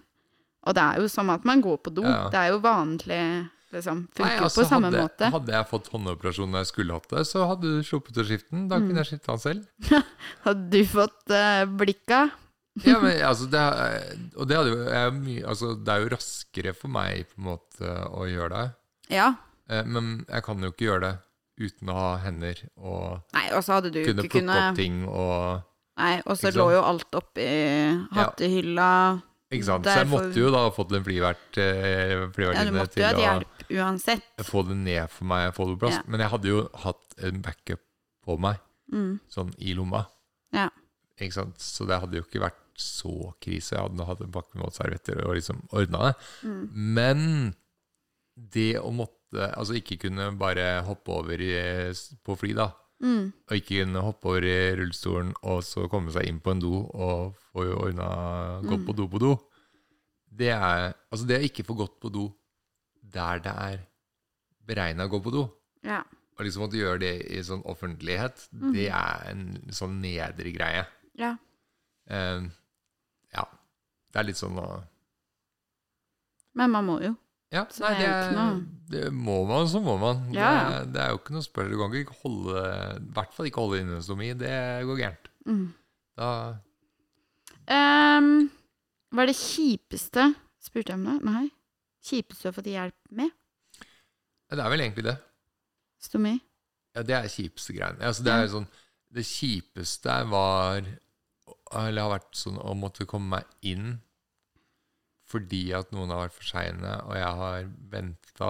S2: Og det er jo som at man går på do.
S1: Ja.
S2: Det er jo vanlig, liksom. Funker
S1: Nei,
S2: jo
S1: altså,
S2: på samme
S1: hadde,
S2: måte.
S1: Hadde jeg fått håndoperasjon når jeg skulle hatt det, så hadde du sluppet å skifte den. Da
S2: Mm.
S1: kunne jeg skifte den selv.
S2: Hadde du fått eh, blikka?
S1: Ja, men altså, det, er- og det, hadde jo, jeg er jo mye, altså, det er jo raskere for meg på en måte å gjøre det.
S2: Ja.
S1: Eh, Men jeg kan jo ikke gjøre det uten å ha hender og
S2: Nei, og så hadde du
S1: kunne
S2: ikke
S1: plukke
S2: kunne
S1: opp ting og
S2: Nei, og så
S1: Ikke
S2: lå
S1: sant?
S2: jo alt oppi hattehylla.
S1: Ikke sant? Så jeg
S2: Derfor-
S1: måtte jo da ha fått en flyvert eh,
S2: Ja, du
S1: flyvertinne
S2: måtte jo
S1: til
S2: ha
S1: å
S2: hjelp uansett.
S1: få det ned for meg, få det på plass.
S2: Ja.
S1: Men jeg hadde jo hatt en backup på meg,
S2: Mm.
S1: sånn i lomma.
S2: Ja.
S1: Ikke sant? Så det hadde jo ikke vært så krise. Jeg hadde hatt en pakke med servietter og liksom ordna det.
S2: Mm.
S1: Men det å måtte Altså ikke kunne bare hoppe over i, på fly, da.
S2: Mm.
S1: og ikke kunne hoppe over i rullestolen og så komme seg inn på en do og få jo ordna gå på do på do Det er Altså, det å ikke få gått på do der det er beregna å gå på do,
S2: Ja.
S1: og liksom måtte gjøre det i sånn offentlighet, det er en sånn nedre greie.
S2: Mhm. ja.
S1: Eh, ja. Det er litt sånn å
S2: Men man må jo.
S1: Ja,
S2: Så
S1: nei,
S2: det
S1: det,
S2: Sånn er jo
S1: er, det må man, så må man.
S2: Ja, ja.
S1: Det, er, det er jo ikke noe spørsmål. Du kan ikke holde I hvert fall ikke holde innestomi. Det går gærent.
S2: Mm.
S1: Da
S2: Ehm, hva er det kjipeste Spurte jeg om det? Nei. Kjipeste du har fått hjelp med?
S1: Ja, det er vel egentlig det.
S2: Stomi?
S1: Ja, det er kjipeste greien. Altså, det, er jo sånn, det kjipeste var Eller har vært sånn å måtte komme meg inn fordi at noen har vært for seine, og jeg har venta,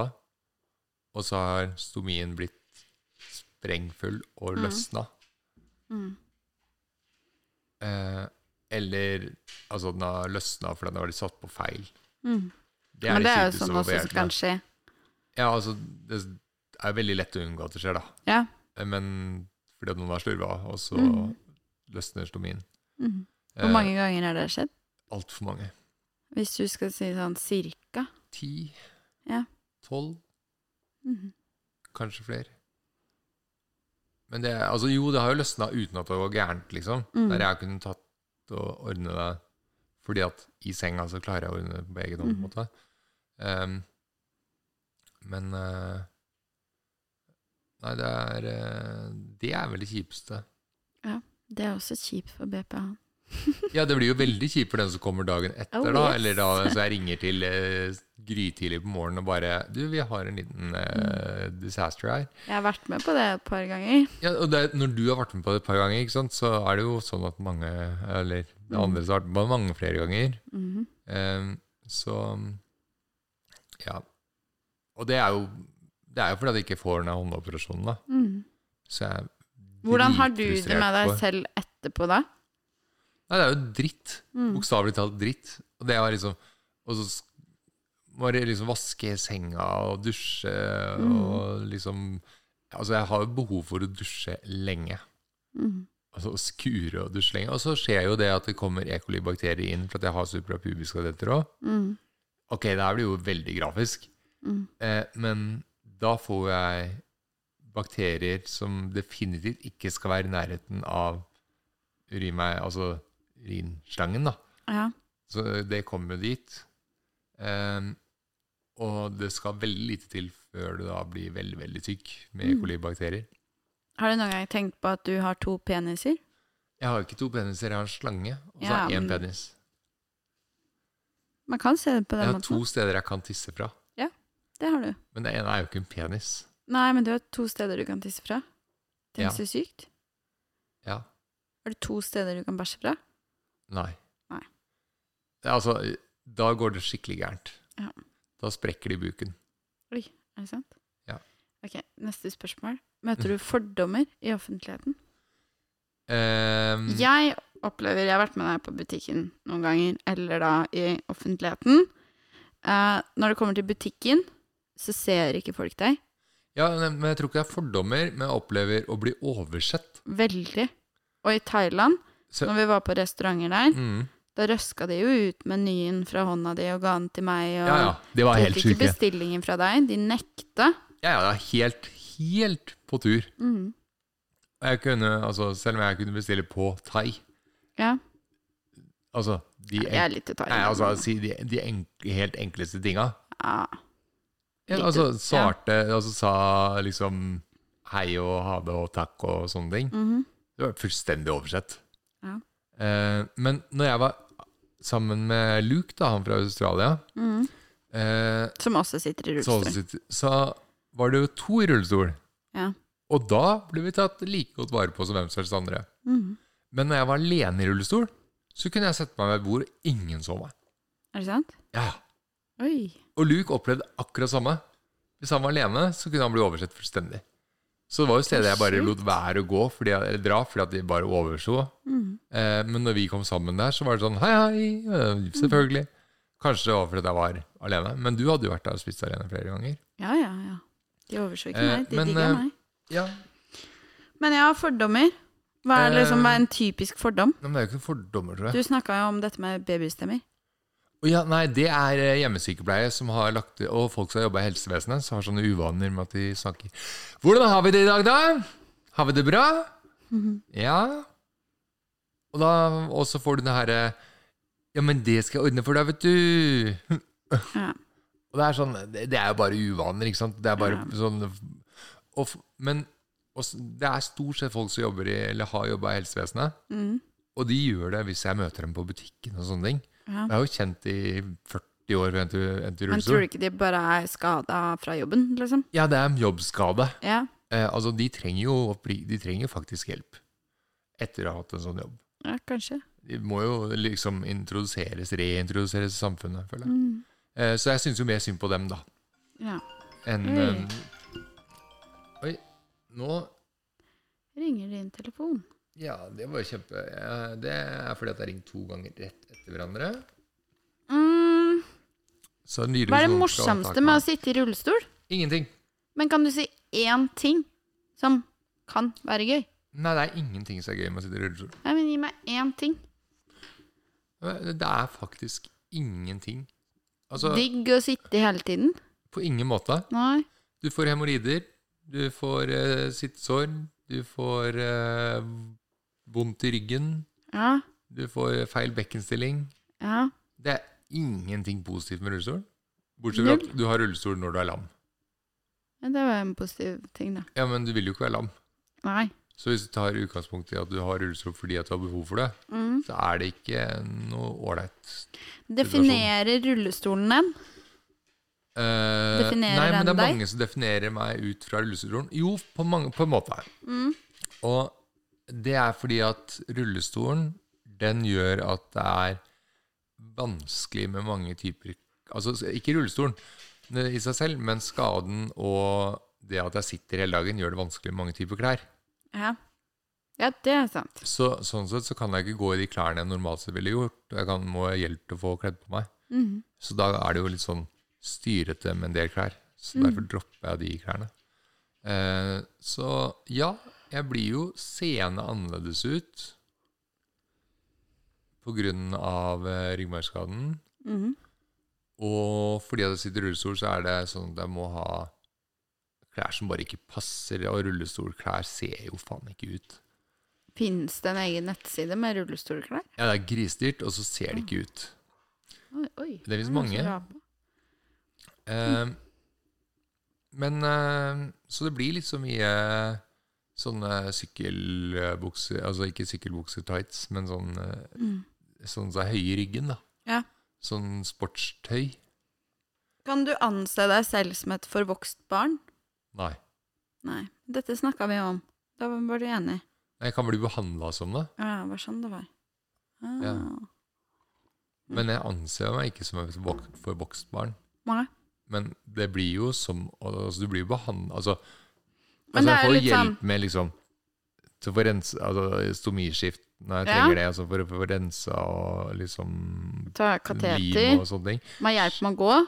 S1: og så har stomien blitt sprengfull og
S2: Mm.
S1: løsna.
S2: Mm.
S1: Eh, eller altså den har løsna fordi den har blitt satt på feil.
S2: Mm.
S1: Det
S2: Men det er jo
S1: kjipeste
S2: sånn
S1: som
S2: også
S1: har vært
S2: som kan
S1: med.
S2: skje.
S1: Ja, altså, det er veldig lett å unngå at det skjer, da. Eh,
S2: Ja.
S1: men fordi at noen har slurva, og så
S2: Mm.
S1: løsner stomien. Eh.
S2: Mm. Hvor mange ganger har det skjedd?
S1: Altfor mange.
S2: Hvis du skal si sånn cirka.
S1: Ti?
S2: Ja.
S1: Tolv?
S2: Mhm.
S1: Kanskje flere. Men det, er- altså, jo, det har jo løsna uten at det var gærent, liksom.
S2: Mm.
S1: Der jeg kunne tatt og ordne det fordi at i senga så klarer jeg å ordne det på egen hånd, på en
S2: Mhm.
S1: måte. Ehm, men eh, Nei, det er eh, Det er vel det kjipeste.
S2: Det er også kjipt for BPA.
S1: Ja, det blir jo veldig kjipt for den som kommer dagen etter,
S2: Oh,
S1: da.
S2: yes.
S1: Eller da så jeg ringer til eh, grytidlig på morgenen og bare Du, vi har en liten eh, disaster her.
S2: Jeg har vært med på det et par ganger.
S1: Ja, og det, er- når du har vært med på det et par ganger, ikke sant, så er det jo sånn at mange Eller det andre som har vært med på det mange flere ganger.
S2: Mhm.
S1: Eh, så Ja. Og det er jo Det er jo fordi at jeg ikke får den håndoperasjonen, da.
S2: Mhm.
S1: Så jeg er
S2: Hvordan har du det
S1: dritfrustrert
S2: med deg
S1: på-
S2: selv etterpå, da?
S1: Nei, det er jo dritt.
S2: Mhm.
S1: Bokstavelig talt dritt. Og det var liksom Og så sk- må jeg liksom vaske senga og dusje og liksom Altså, jeg har jo behov for å dusje lenge.
S2: Mhm.
S1: Altså å skure og dusje lenge. Og så skjer jo det at det kommer E. coli-bakterier inn for at jeg har suprapubiske adetter òg.
S2: Mhm.
S1: Ok, det her blir jo veldig grafisk.
S2: Mhm.
S1: Eh, men da får jeg bakterier som definitivt ikke skal være i nærheten av urin, altså urinslangen, da.
S2: Ja.
S1: Så det kommer jo dit. Ehm, og det skal veldig lite til før du da blir veldig, veldig syk med E.
S2: Mm.
S1: coli-bakterier.
S2: Har du noen gang tenkt på at du har to peniser?
S1: Jeg har ikke to peniser, jeg har en slange, og så
S2: Ja,
S1: har jeg én
S2: men-
S1: penis.
S2: Man kan se det på
S1: Jeg
S2: den
S1: har
S2: måten.
S1: to steder jeg kan tisse fra,
S2: Det har du.
S1: men det ene er jo ikke en penis.
S2: Nei, men du har to steder du kan tisse fra.
S1: Ja.
S2: Tenk så sykt.
S1: Ja.
S2: Har du to steder du kan bæsje fra?
S1: Nei.
S2: Nei.
S1: Det er Altså, da går det skikkelig gærent.
S2: Ja.
S1: Da sprekker det i buken.
S2: Er det sant?
S1: Ja. Mm.
S2: Ok, neste spørsmål. Møter du fordommer i offentligheten?
S1: Ehm,
S2: Jeg opplever, jeg har vært med deg på butikken noen ganger, eller da i offentligheten. Eh, når det kommer til butikken, så ser ikke folk deg.
S1: ja, men jeg tror ikke det er fordommer, men jeg opplever å bli oversett.
S2: Veldig. Og i Thailand,
S1: Så-
S2: når vi var på restauranter der,
S1: Mm.
S2: da røska de jo ut menyen fra hånda di og ga den til meg. Og
S1: Ja, ja. Det var
S2: tok
S1: helt
S2: ikke
S1: sjukt.
S2: bestillingen fra deg. De nekta.
S1: Ja, ja, det er helt, helt på tur.
S2: Mm.
S1: Og Jeg kunne, altså, selv om jeg kunne bestille på thai
S2: Ja.
S1: Altså, de,
S2: Jeg er litt i
S1: nei,
S2: Thailand.
S1: altså, si de, de enk, helt enkleste tinga.
S2: ja.
S1: Ja,
S2: Litt-
S1: altså,
S2: ja.
S1: svarte Altså sa liksom hei og ha det og takk og sånne ting.
S2: Mhm.
S1: Det var fullstendig oversett.
S2: Ja.
S1: Eh, men når jeg var sammen med Luke, da, han fra Australia,
S2: Mhm.
S1: eh,
S2: Som også sitter i
S1: så,
S2: rullestol.
S1: så var det jo to i rullestol.
S2: Ja.
S1: Og da ble vi tatt like godt vare på som hvem som helst andre.
S2: Mhm.
S1: Men når jeg var alene i rullestol, så kunne jeg sette meg ved et bord, og ingen så meg.
S2: Er det sant?
S1: Ja.
S2: Oi.
S1: Og Luke opplevde akkurat samme. Hvis han var alene, så kunne han bli oversett fullstendig. Så det var jo steder jeg bare
S2: Shit.
S1: lot være å gå, fordi, eller dra, fordi at de bare overså.
S2: Mhm.
S1: Eh, men når vi kom sammen der, så var det sånn hei, hei, eh, selvfølgelig. Kanskje det var fordi jeg var alene, men du hadde jo vært der og spist alene flere ganger.
S2: Ja, ja, ja. De overså ikke
S1: Eh,
S2: meg. De
S1: men,
S2: digga
S1: eh,
S2: meg.
S1: Ja,
S2: Men ja, fordommer. Hva er
S1: eh,
S2: liksom hva er en typisk fordom?
S1: men det er jo ikke fordommer, tror jeg.
S2: Du snakka jo om dette med babystemmer.
S1: Å Ja, nei, det er eh, hjemmesykepleie som har lagt Og folk som har jobba i helsevesenet, som har sånne uvaner med at de snakker Hvordan har vi det i dag, da? Har vi det bra? Ja. Og, da, og så får du det herre Ja, men det skal jeg ordne for deg, vet du.
S2: Ja.
S1: Og det er sånn Det, det er jo bare uvaner, ikke sant? Det er bare sånn og, f- Men og, s- det er stort sett folk som jobber i, eller har jobba i helsevesenet.
S2: Mhm.
S1: Og de gjør det hvis jeg møter dem på butikken og sånne ting.
S2: Ja.
S1: Jeg er jo kjent i 40 år ved en tur- en tur
S2: Men tror du
S1: rullestol.
S2: ikke de bare er skada fra jobben, liksom?
S1: Ja, det er en jobbskade.
S2: Ja.
S1: Eh, altså, de trenger jo å bli- de trenger faktisk hjelp etter å ha hatt en sånn jobb.
S2: ja, kanskje.
S1: De må jo liksom introduseres, reintroduseres i samfunnet, føler jeg.
S2: Mhm.
S1: Eh, så jeg syns jo mer synd på dem, da,
S2: Ja.
S1: enn
S2: Oi.
S1: eh, Oi, nå
S2: Ringer din telefon?
S1: Ja, det var jo kjempe eh, Det er fordi at jeg ringte to ganger rett etter hverandre.
S2: Mm,
S1: Så nylig
S2: hva er
S1: så
S2: det
S1: skal Liksom han ta tak
S2: morsomste med å
S1: meg.
S2: sitte i rullestol?
S1: Ingenting.
S2: Men kan du si én ting som kan være gøy?
S1: Nei, det er ingenting som er gøy med å sitte i rullestol.
S2: Nei, men gi meg én ting.
S1: Det er faktisk ingenting. Altså,
S2: Digg å sitte hele tiden.
S1: på ingen måte.
S2: Nei.
S1: Du får hemoroider, du får eh, sittesår, du får eh, vondt i ryggen,
S2: Ja.
S1: du får feil bekkenstilling.
S2: Ja.
S1: Det er ingenting positivt med rullestol. Bortsett fra at du har rullestol når du er lam.
S2: ja det var en positiv ting, da.
S1: Ja, men du vil jo ikke være lam.
S2: Nei.
S1: Så hvis du tar utgangspunkt i at du har rullestol fordi at du har behov for det,
S2: Mm.
S1: så er det ikke noe ålreit.
S2: Definerer rullestolen den?
S1: Eh,
S2: Definerer
S1: nei, men det
S2: den
S1: er
S2: deg?
S1: mange som definerer meg ut fra rullestolen. Jo, på, mange, på en måte.
S2: Mm.
S1: Og det er fordi at rullestolen, den gjør at det er vanskelig med mange typer Altså ikke rullestolen i seg selv, men skaden og det at jeg sitter hele dagen, gjør det vanskelig med mange typer klær.
S2: Ja. ja, det er sant.
S1: Så, sånn sett så kan jeg ikke gå i de klærne jeg normalt sett ville gjort. og Jeg kan, må ha hjelp til å få kledd på meg.
S2: Mhm.
S1: Så da er det jo litt sånn styrete med en del klær. Så derfor dropper jeg de klærne. Eh, så ja, jeg blir jo seende annerledes ut på grunn av eh, ryggmargskaden.
S2: Mhm.
S1: Og fordi jeg sitter i rullestol, så er det sånn at jeg må ha klær som bare ikke passer. Og rullestolklær ser jo faen ikke ut.
S2: Finnes det en egen nettside med rullestolklær?
S1: Ja, det er grisdyrt, og så ser det ikke ut.
S2: Oi, oi.
S1: Det finnes
S2: er noen som
S1: mange.
S2: drar på.
S1: Eh, men eh, Så det blir litt så mye sånne sykkelbukser Altså ikke sykkelbukser-tights, men sånn eh,
S2: Mm.
S1: sånn som er høye i ryggen, da.
S2: Ja.
S1: Sånn sportstøy.
S2: Kan du anse deg selv som et forvokst barn?
S1: Nei.
S2: Nei. Dette snakka vi om. Da var du enig.
S1: Jeg kan bli behandla som det,
S2: Ja, det var sånn det var. Ah.
S1: Ja. men jeg anser meg ikke som et vok- forvokst barn.
S2: Nei.
S1: Men det blir jo som altså Du blir jo behandla altså, altså,
S2: Men det
S1: jeg
S2: er
S1: får
S2: litt
S1: hjelp
S2: sånn
S1: med liksom til å få rense altså, stomiskift når jeg
S2: Ja.
S1: trenger det, altså for å få rensa og liksom
S2: Ta
S1: lim
S2: kateter.
S1: og sånne ting.
S2: Man hjelper med å gå.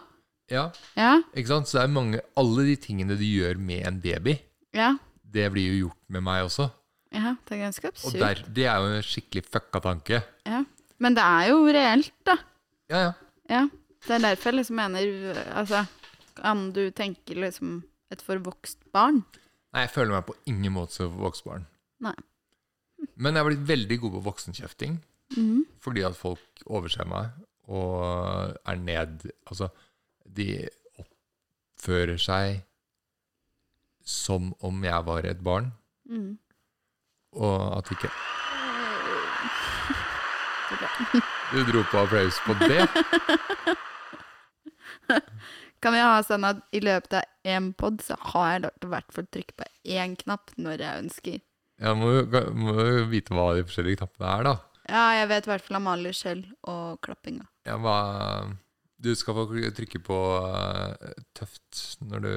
S1: Ja,
S2: Ja.
S1: ikke sant? Så det er mange, alle de tingene du gjør med en baby,
S2: Ja.
S1: det blir jo gjort med meg også.
S2: ja. Det er ganske
S1: Og
S2: absurd.
S1: der, det er jo en skikkelig fucka tanke.
S2: Ja. Men det er jo reelt, da.
S1: Ja, ja.
S2: Ja. Det er derfor jeg liksom mener øh, Altså, kan du tenke liksom et forvokst barn?
S1: Nei, jeg føler meg på ingen måte som voksbarn.
S2: Nei.
S1: Men jeg har blitt veldig god på voksenkjefting,
S2: Mhm.
S1: fordi at folk overser meg og er ned... Altså, de oppfører seg som om jeg var et barn,
S2: Mhm.
S1: og at ikke...
S2: Det er bra.
S1: Du dro på applaus på det.
S2: Kan vi ha sånn at i løpet av én pod så har jeg lov til å hvert fall trykke på én knapp når jeg ønsker.
S1: Jeg må, jo- må jo vite hva de forskjellige knappene er, da.
S2: Ja, jeg vet i hvert fall Amalie selv og klappinga.
S1: Ja, hva, du skal få trykke på eh, tøft når du,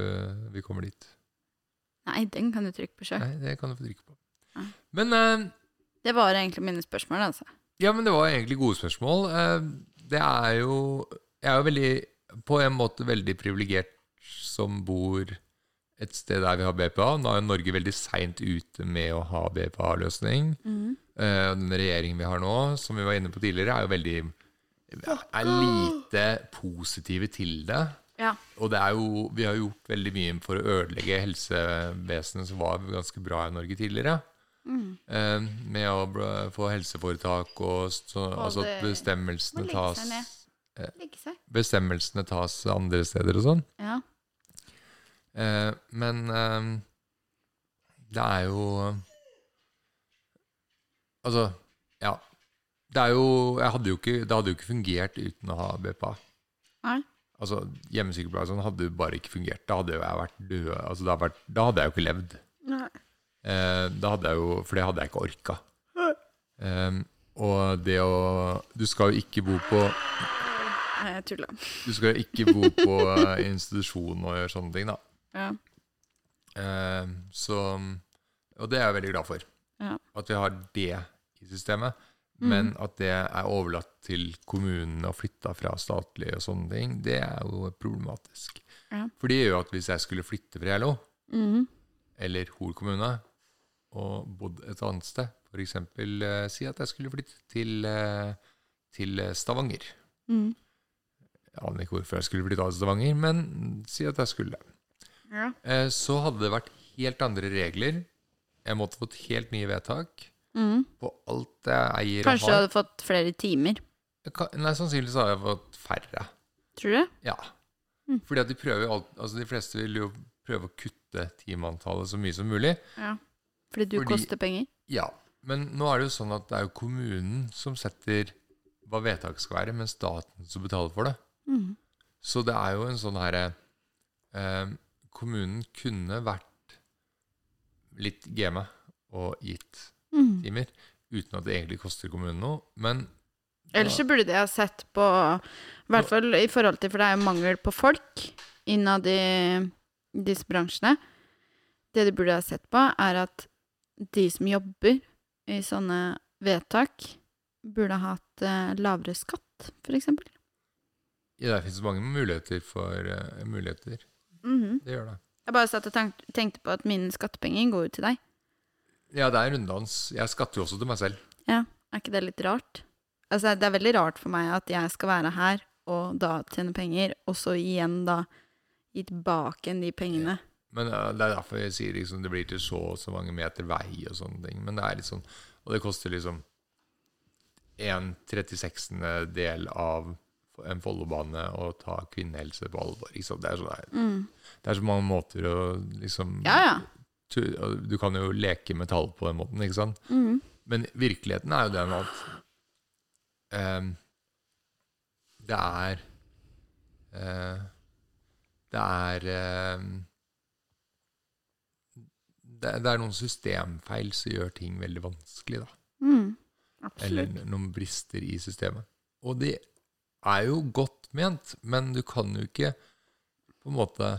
S1: vi kommer dit.
S2: Nei, den kan du trykke på sjøl.
S1: Nei, det kan du få trykke på.
S2: Ja.
S1: Men, eh,
S2: Det var egentlig mine spørsmål, altså.
S1: ja, men det var egentlig gode spørsmål. Eh, Det er jo Jeg er jo veldig, på en måte veldig privilegert som bor et sted der vi har BPA. Nå er jo Norge veldig seint ute med å ha BPA-løsning. Eh, Den regjeringen vi har nå, som vi var inne på tidligere, er jo veldig er lite positive til det.
S2: Ja.
S1: Og det er jo, vi har gjort veldig mye for å ødelegge helsevesenet, som var ganske bra i Norge tidligere.
S2: Mm.
S1: Eh, med å bl- få helseforetak og så, altså at
S2: det-
S1: bestemmelsene
S2: må legge seg ned.
S1: tas,
S2: Ligge seg.
S1: bestemmelsene tas andre steder og sånn.
S2: Ja.
S1: Eh, men eh, det er jo Altså, ja. Det er jo, jeg hadde jo ikke, det hadde jo ikke fungert uten å ha BPA.
S2: Nei.
S1: Altså, Hjemmesykepleie og sånn hadde jo bare ikke fungert. Da hadde jo jeg vært død. Altså, da, hadde vært, da hadde jeg jo ikke levd.
S2: Nei.
S1: Eh, da hadde jeg jo, for det hadde jeg ikke orka. Em, og det å Du skal jo ikke bo på
S2: Nei, jeg tulla.
S1: Du skal jo ikke bo på eh, institusjon og gjøre sånne ting, da.
S2: Ja.
S1: Eh, så, og det er jeg veldig glad for.
S2: Ja. Mm.
S1: At vi har det i systemet. Men at det er overlatt til kommunene og flytta fra statlig og sånne ting, det er jo problematisk.
S2: Ja.
S1: For det gjør jo at hvis jeg skulle flytte fra LO,
S2: Mhm.
S1: eller Hol kommune, og bodd et annet sted, f.eks. Uh, si at jeg skulle flytte til, eh, til eh, Stavanger,
S2: Mhm.
S1: Jeg aner ikke hvorfor jeg skulle flytte av til Stavanger, men si at jeg skulle.
S2: Ja.
S1: Eh, Så hadde det vært helt andre regler. Jeg måtte fått helt nye vedtak
S2: Mm.
S1: på alt jeg eier
S2: Kanskje
S1: og
S2: du
S1: har.
S2: hadde fått flere timer,
S1: Ka- Nei, sannsynligvis har jeg fått færre.
S2: tror du?
S1: Ja.
S2: Mm.
S1: Fordi at de prøver jo alt Altså, de fleste vil jo prøve å kutte timeantallet så mye som mulig.
S2: Ja. Fordi du
S1: Fordi-
S2: koster penger?
S1: Ja. Men nå er det jo sånn at det er jo kommunen som setter hva vedtaket skal være, men staten som betaler for det.
S2: Mm.
S1: Så det er jo en sånn herre eh, Kommunen kunne vært litt game og gitt
S2: Mm.
S1: timer uten at det egentlig koster kommunen noe, men
S2: Ellers så burde de ha sett på I hvert fall i forhold til For det er jo mangel på folk innad i disse bransjene. Det de burde ha sett på, er at de som jobber i sånne vedtak, burde ha hatt eh, lavere skatt, for eksempel.
S1: ja, det finnes mange muligheter for eh, muligheter.
S2: Mhm.
S1: Det gjør det.
S2: Jeg bare satt og tenk- tenkte på at mine skattepenger går jo til deg.
S1: Ja, det er runddans. Jeg skatter jo også til meg selv.
S2: Er ikke det litt rart? Altså, det er veldig rart for meg at jeg skal være her, og da tjene penger, og så igjen da gi tilbake igjen de pengene.
S1: Men eh, Det er derfor jeg sier liksom, det blir til så og så mange meter vei og sånne ting. Men det er litt sånn Og det koster liksom en 36. del av en Follobane å ta kvinnehelse på alvor. Ikke sant? Det, er så,
S2: Mm.
S1: det er så mange måter å liksom
S2: Ja, ja.
S1: tu, og Du kan jo leke med tall på den måten, ikke sant?
S2: Mm.
S1: Men virkeligheten er jo den at eh, det er eh, Det er eh, det, det er noen systemfeil som gjør ting veldig vanskelig, da.
S2: Mm.
S1: Eller
S2: Absolutt.
S1: noen brister i systemet. Og de er jo godt ment, men du kan jo ikke på en måte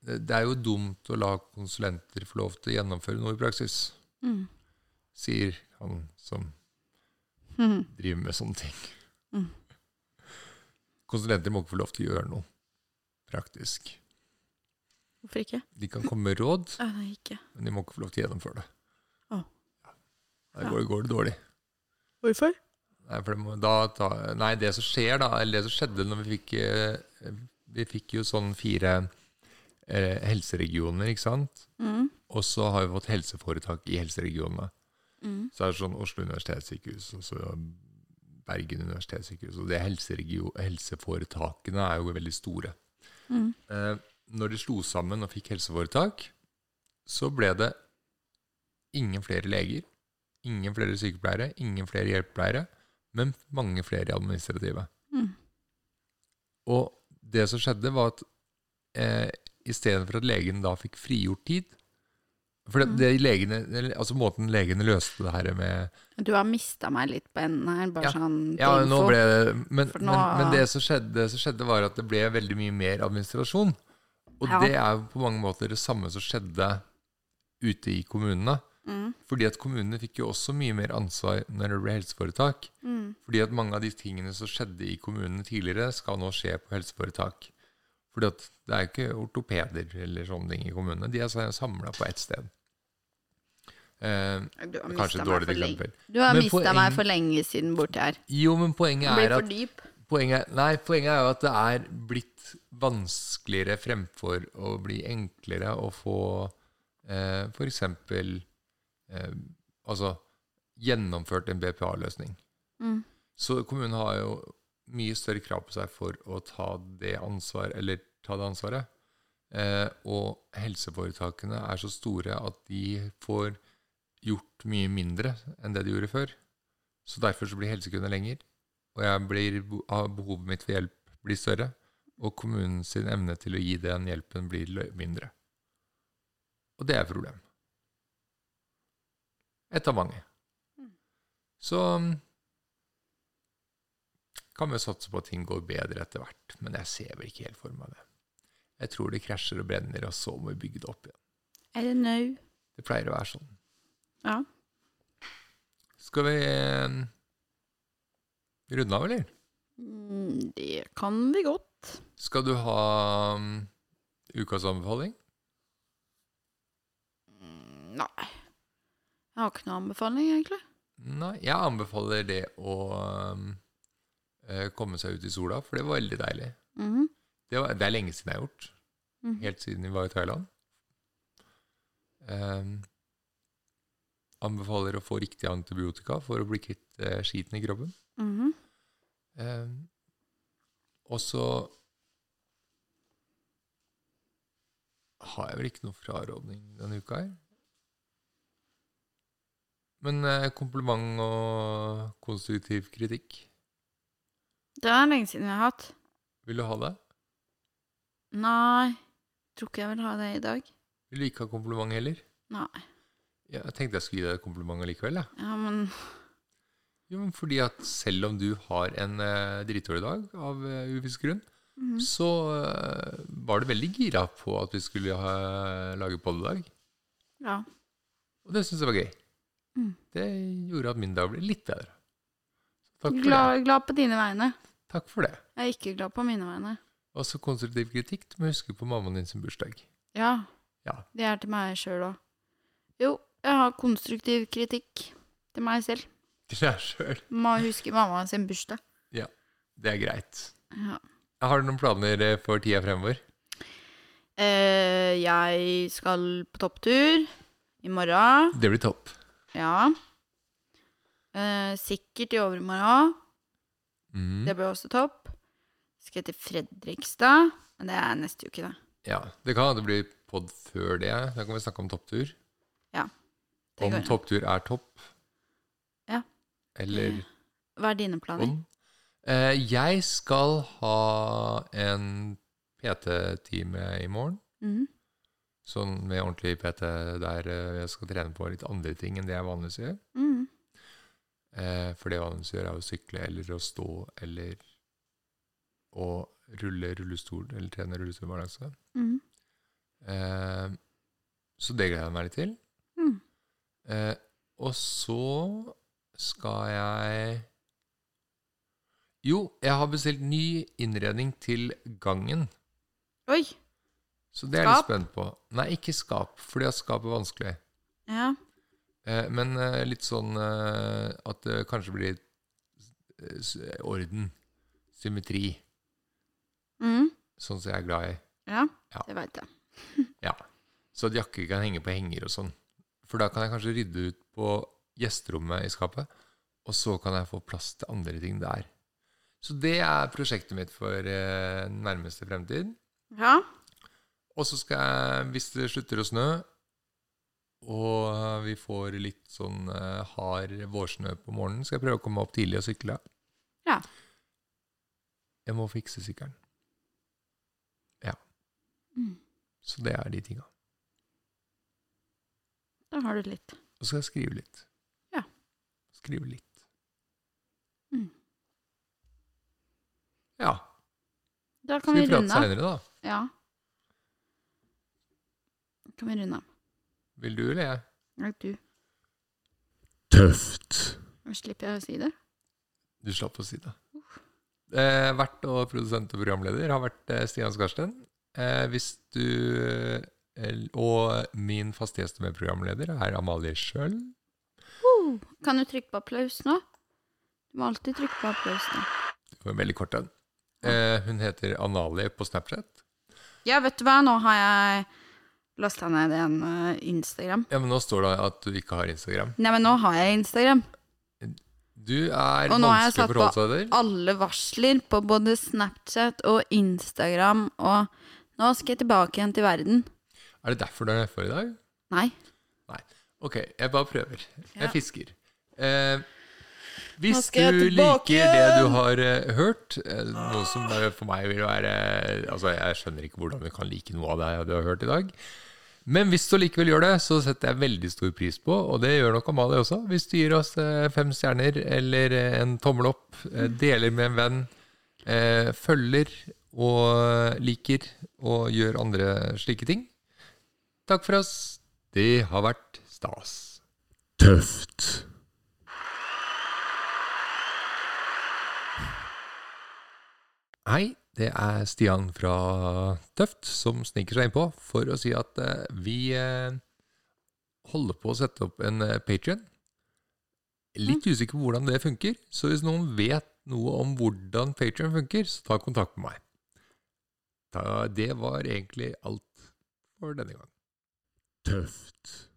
S1: Det det er jo dumt å la konsulenter få lov til å gjennomføre noe i praksis,
S2: Mm.
S1: sier han som
S2: Mhm.
S1: driver med sånne ting.
S2: Mm.
S1: Konsulenter må ikke få lov til å gjøre noe praktisk.
S2: Hvorfor ikke?
S1: De kan komme med råd,
S2: Å, nei, ikke.
S1: men de må ikke få lov til å gjennomføre det.
S2: Å.
S1: Ja. Da går, går det dårlig.
S2: Hvorfor?
S1: Nei, for det, må, da, ta, nei, det som skjer da, eller det som skjedde når vi fikk eh, Vi fikk jo sånn fire eh, helseregioner, ikke sant?
S2: Mm.
S1: Og så har vi fått helseforetak i helseregionene.
S2: Mm.
S1: Så er det sånn Oslo universitetssykehus og så Bergen universitetssykehus. Og det helseregio- helseforetakene er jo veldig store.
S2: Mm.
S1: Eh, når de slo sammen og fikk helseforetak, så ble det ingen flere leger, ingen flere sykepleiere, ingen flere hjelpepleiere, men mange flere administrative.
S2: Mm.
S1: Og det som skjedde, var at eh, istedenfor at legen da fikk frigjort tid For det,
S2: Mm.
S1: det legene, eller, altså måten legene løste det her med
S2: Du har mista meg litt på enden her, bare
S1: Ja.
S2: sånn til
S1: Ja, nå
S2: info.
S1: ble det, men,
S2: For nå-
S1: men, men det, som skjedde, det som skjedde, var at det ble veldig mye mer administrasjon. Og
S2: Ja.
S1: det er jo på mange måter det samme som skjedde ute i kommunene.
S2: Mm.
S1: Fordi at kommunene fikk jo også mye mer ansvar når det ble helseforetak.
S2: Mm.
S1: Fordi at mange av de tingene som skjedde i kommunene tidligere, skal nå skje på helseforetak. Fordi at det er jo ikke ortopeder eller sånne ting i kommunene. De er samla på ett sted. Eh,
S2: Du
S1: kanskje
S2: har mista
S1: et
S2: meg,
S1: dårlig
S2: for lenge-
S1: eksempel.
S2: du har
S1: Men
S2: mistet
S1: poeng-
S2: meg for lenge siden borti her.
S1: Jo, men
S2: Det
S1: poenget
S2: blir
S1: er at
S2: for dyp.
S1: Poenget, er- nei, poenget er jo at det er blitt vanskeligere fremfor å bli enklere å få eh, f.eks. Eh, altså gjennomført en BPA-løsning.
S2: Mm.
S1: Så kommunen har jo mye større krav på seg for å ta det ansvaret, eller ta det ansvaret. Eh, og helseforetakene er så store at de får gjort mye mindre enn det de gjorde før. Så derfor så blir helsekøene lenger, og jeg blir, har behovet mitt for hjelp blir større, og kommunen sin evne til å gi den hjelpen blir lø- mindre. Og det er et problem. Et av mange.
S2: Mm.
S1: Så kan vi satse på at ting går bedre etter hvert, men jeg ser vel ikke helt for meg det. Jeg tror det krasjer og brenner, og så må vi bygge det opp igjen.
S2: I don't know.
S1: Det pleier å være sånn.
S2: Ja.
S1: Skal vi eh, runde av, eller?
S2: Mm, Det kan vi godt.
S1: Skal du ha mm, ukas anbefaling?
S2: Mm, Nei. Jeg har ikke noen anbefaling, egentlig.
S1: Nei, jeg anbefaler det å eh, eh, komme seg ut i sola, for det var veldig deilig.
S2: Mhm.
S1: Det, var, det er lenge siden jeg har gjort.
S2: Mhm.
S1: Helt siden vi var i Thailand. Ehm, anbefaler å få riktig antibiotika for å bli kvitt eh, skiten i kroppen.
S2: Mhm.
S1: Ehm, og så har jeg vel ikke noe frarådning denne uka her. Men eh, kompliment og konstruktiv kritikk.
S2: Det er lenge siden jeg har hatt.
S1: Vil du ha det?
S2: Nei, tror ikke jeg vil ha det i dag.
S1: Vil du ikke ha kompliment heller?
S2: Nei.
S1: Ja, jeg tenkte jeg skulle gi deg et kompliment allikevel. jeg.
S2: Ja, men
S1: Jo, men fordi at selv om du har en eh, dritdårlig dag av eh, uviss grunn,
S2: mhm.
S1: så eh, var du veldig gira på at vi skulle ha, lage poddag.
S2: Ja.
S1: Og det syns jeg var gøy.
S2: Mm.
S1: Det gjorde at min dag ble litt bedre. Så takk for det.
S2: Glad, glad på dine vegne.
S1: Takk for det.
S2: Jeg er ikke glad på mine vegne.
S1: Og så konstruktiv kritikk. Du må huske på mammaen din sin bursdag.
S2: Ja.
S1: Ja.
S2: Det er til meg sjøl òg. Jo, jeg har konstruktiv kritikk til meg selv.
S1: Til deg sjøl.
S2: Må huske mamma sin bursdag.
S1: Det er greit.
S2: Ja.
S1: Har du noen planer eh, for tida fremover?
S2: Eh, jeg skal på topptur i morgen.
S1: Det blir topp.
S2: Ja. Eh, sikkert i overmorgen.
S1: Mm.
S2: Det blir også topp. Skal til Fredrikstad. Men det er neste uke, da.
S1: Ja. Det kan hende det blir pod før det. Da kan vi snakke om topptur.
S2: Det
S1: Om
S2: går.
S1: topptur er topp.
S2: Ja.
S1: Eller
S2: Hva er dine planer?
S1: om. Eh, jeg skal ha en PT-time i morgen.
S2: Mhm.
S1: Sånn med ordentlig PT der eh, jeg skal trene på litt andre ting enn det jeg vanligvis gjør.
S2: Mhm.
S1: Eh, for det jeg vanligvis gjør, er å sykle eller å stå eller å rulle rullestol eller trene rullestolbalanse.
S2: Mhm.
S1: Eh, så det gleder jeg meg litt til.
S2: Mhm.
S1: Eh, og så skal jeg Jo, jeg har bestilt ny innredning til gangen.
S2: Oi!
S1: Så det er jeg litt
S2: Skap?
S1: spent på. Nei, ikke skap, for det er skap er vanskelig.
S2: Ja.
S1: Eh, men eh, litt sånn eh, at det kanskje blir eh, s- orden. Symmetri.
S2: Mhm.
S1: Sånn som jeg er glad i.
S2: ja.
S1: Ja.
S2: Det veit jeg.
S1: Så at jakker kan henge på henger og sånn. For da kan jeg kanskje rydde ut på gjesterommet i skapet, og så kan jeg få plass til andre ting der. Så det er prosjektet mitt for eh, nærmeste fremtid.
S2: Ja.
S1: Og så skal jeg, hvis det slutter å snø, og vi får litt sånn eh, hard vårsnø på morgenen, skal jeg prøve å komme opp tidlig og sykle.
S2: Ja.
S1: Jeg må fikse sykkelen. Ja.
S2: Mm.
S1: Så det er de tinga.
S2: Da har du litt.
S1: Og så skal jeg skrive litt.
S2: Ja.
S1: Skrive litt.
S2: Mm.
S1: Ja.
S2: Da kan
S1: Skal vi
S2: vi
S1: prate
S2: runde av.
S1: seinere, da?
S2: Ja. Kan vi runde av?
S1: Vil du eller jeg?
S2: Nei, du.
S1: Tøft.
S2: Nå slipper jeg å si det.
S1: Du slapp å si det. Eh, vert og produsent og programleder har vært eh, Stian Skarsten. Eh, hvis du el- Og min faste gjest og medprogramleder er Amalie Schjøll.
S2: Kan du trykke på applaus nå? Du må alltid trykke på applaus nå.
S1: Det var en veldig kort en. Eh, hun heter Analie på Snapchat.
S2: Ja, vet du hva, nå har jeg lasta ned en eh, Instagram.
S1: Ja, men nå står det at du ikke har Instagram.
S2: Nei, men nå har jeg Instagram.
S1: Du er
S2: Og nå har
S1: vanskelig å
S2: jeg satt
S1: forholde seg til.
S2: Alle varsler på både Snapchat og Instagram, og nå skal jeg tilbake igjen til verden.
S1: Er det derfor du er nedfor i dag?
S2: Nei.
S1: Ok, jeg bare prøver.
S2: Ja.
S1: Jeg fisker. Eh, hvis
S2: skal jeg
S1: du
S2: tilbake
S1: liker det du har eh, hørt, eh, noe som eh, for meg vil være eh, Altså, jeg skjønner ikke hvordan du kan like noe av det du har hørt i dag. Men hvis du likevel gjør det, så setter jeg veldig stor pris på, og det gjør nok Amalie også. Hvis du gir oss eh, fem stjerner eller eh, en tommel opp, eh,
S2: Mm.
S1: deler med en venn, eh, følger og liker og gjør andre slike ting. Takk for oss. Det har vært stas. Tøft. Hei, det er Stian fra Tøft som sniker seg innpå for å si at eh, vi eh, holder på å sette opp en eh, Patreon. Litt usikker på hvordan det funker, så hvis noen vet noe om hvordan Patrion funker, så ta kontakt med meg. Da, det var egentlig alt for denne gang. Tøft.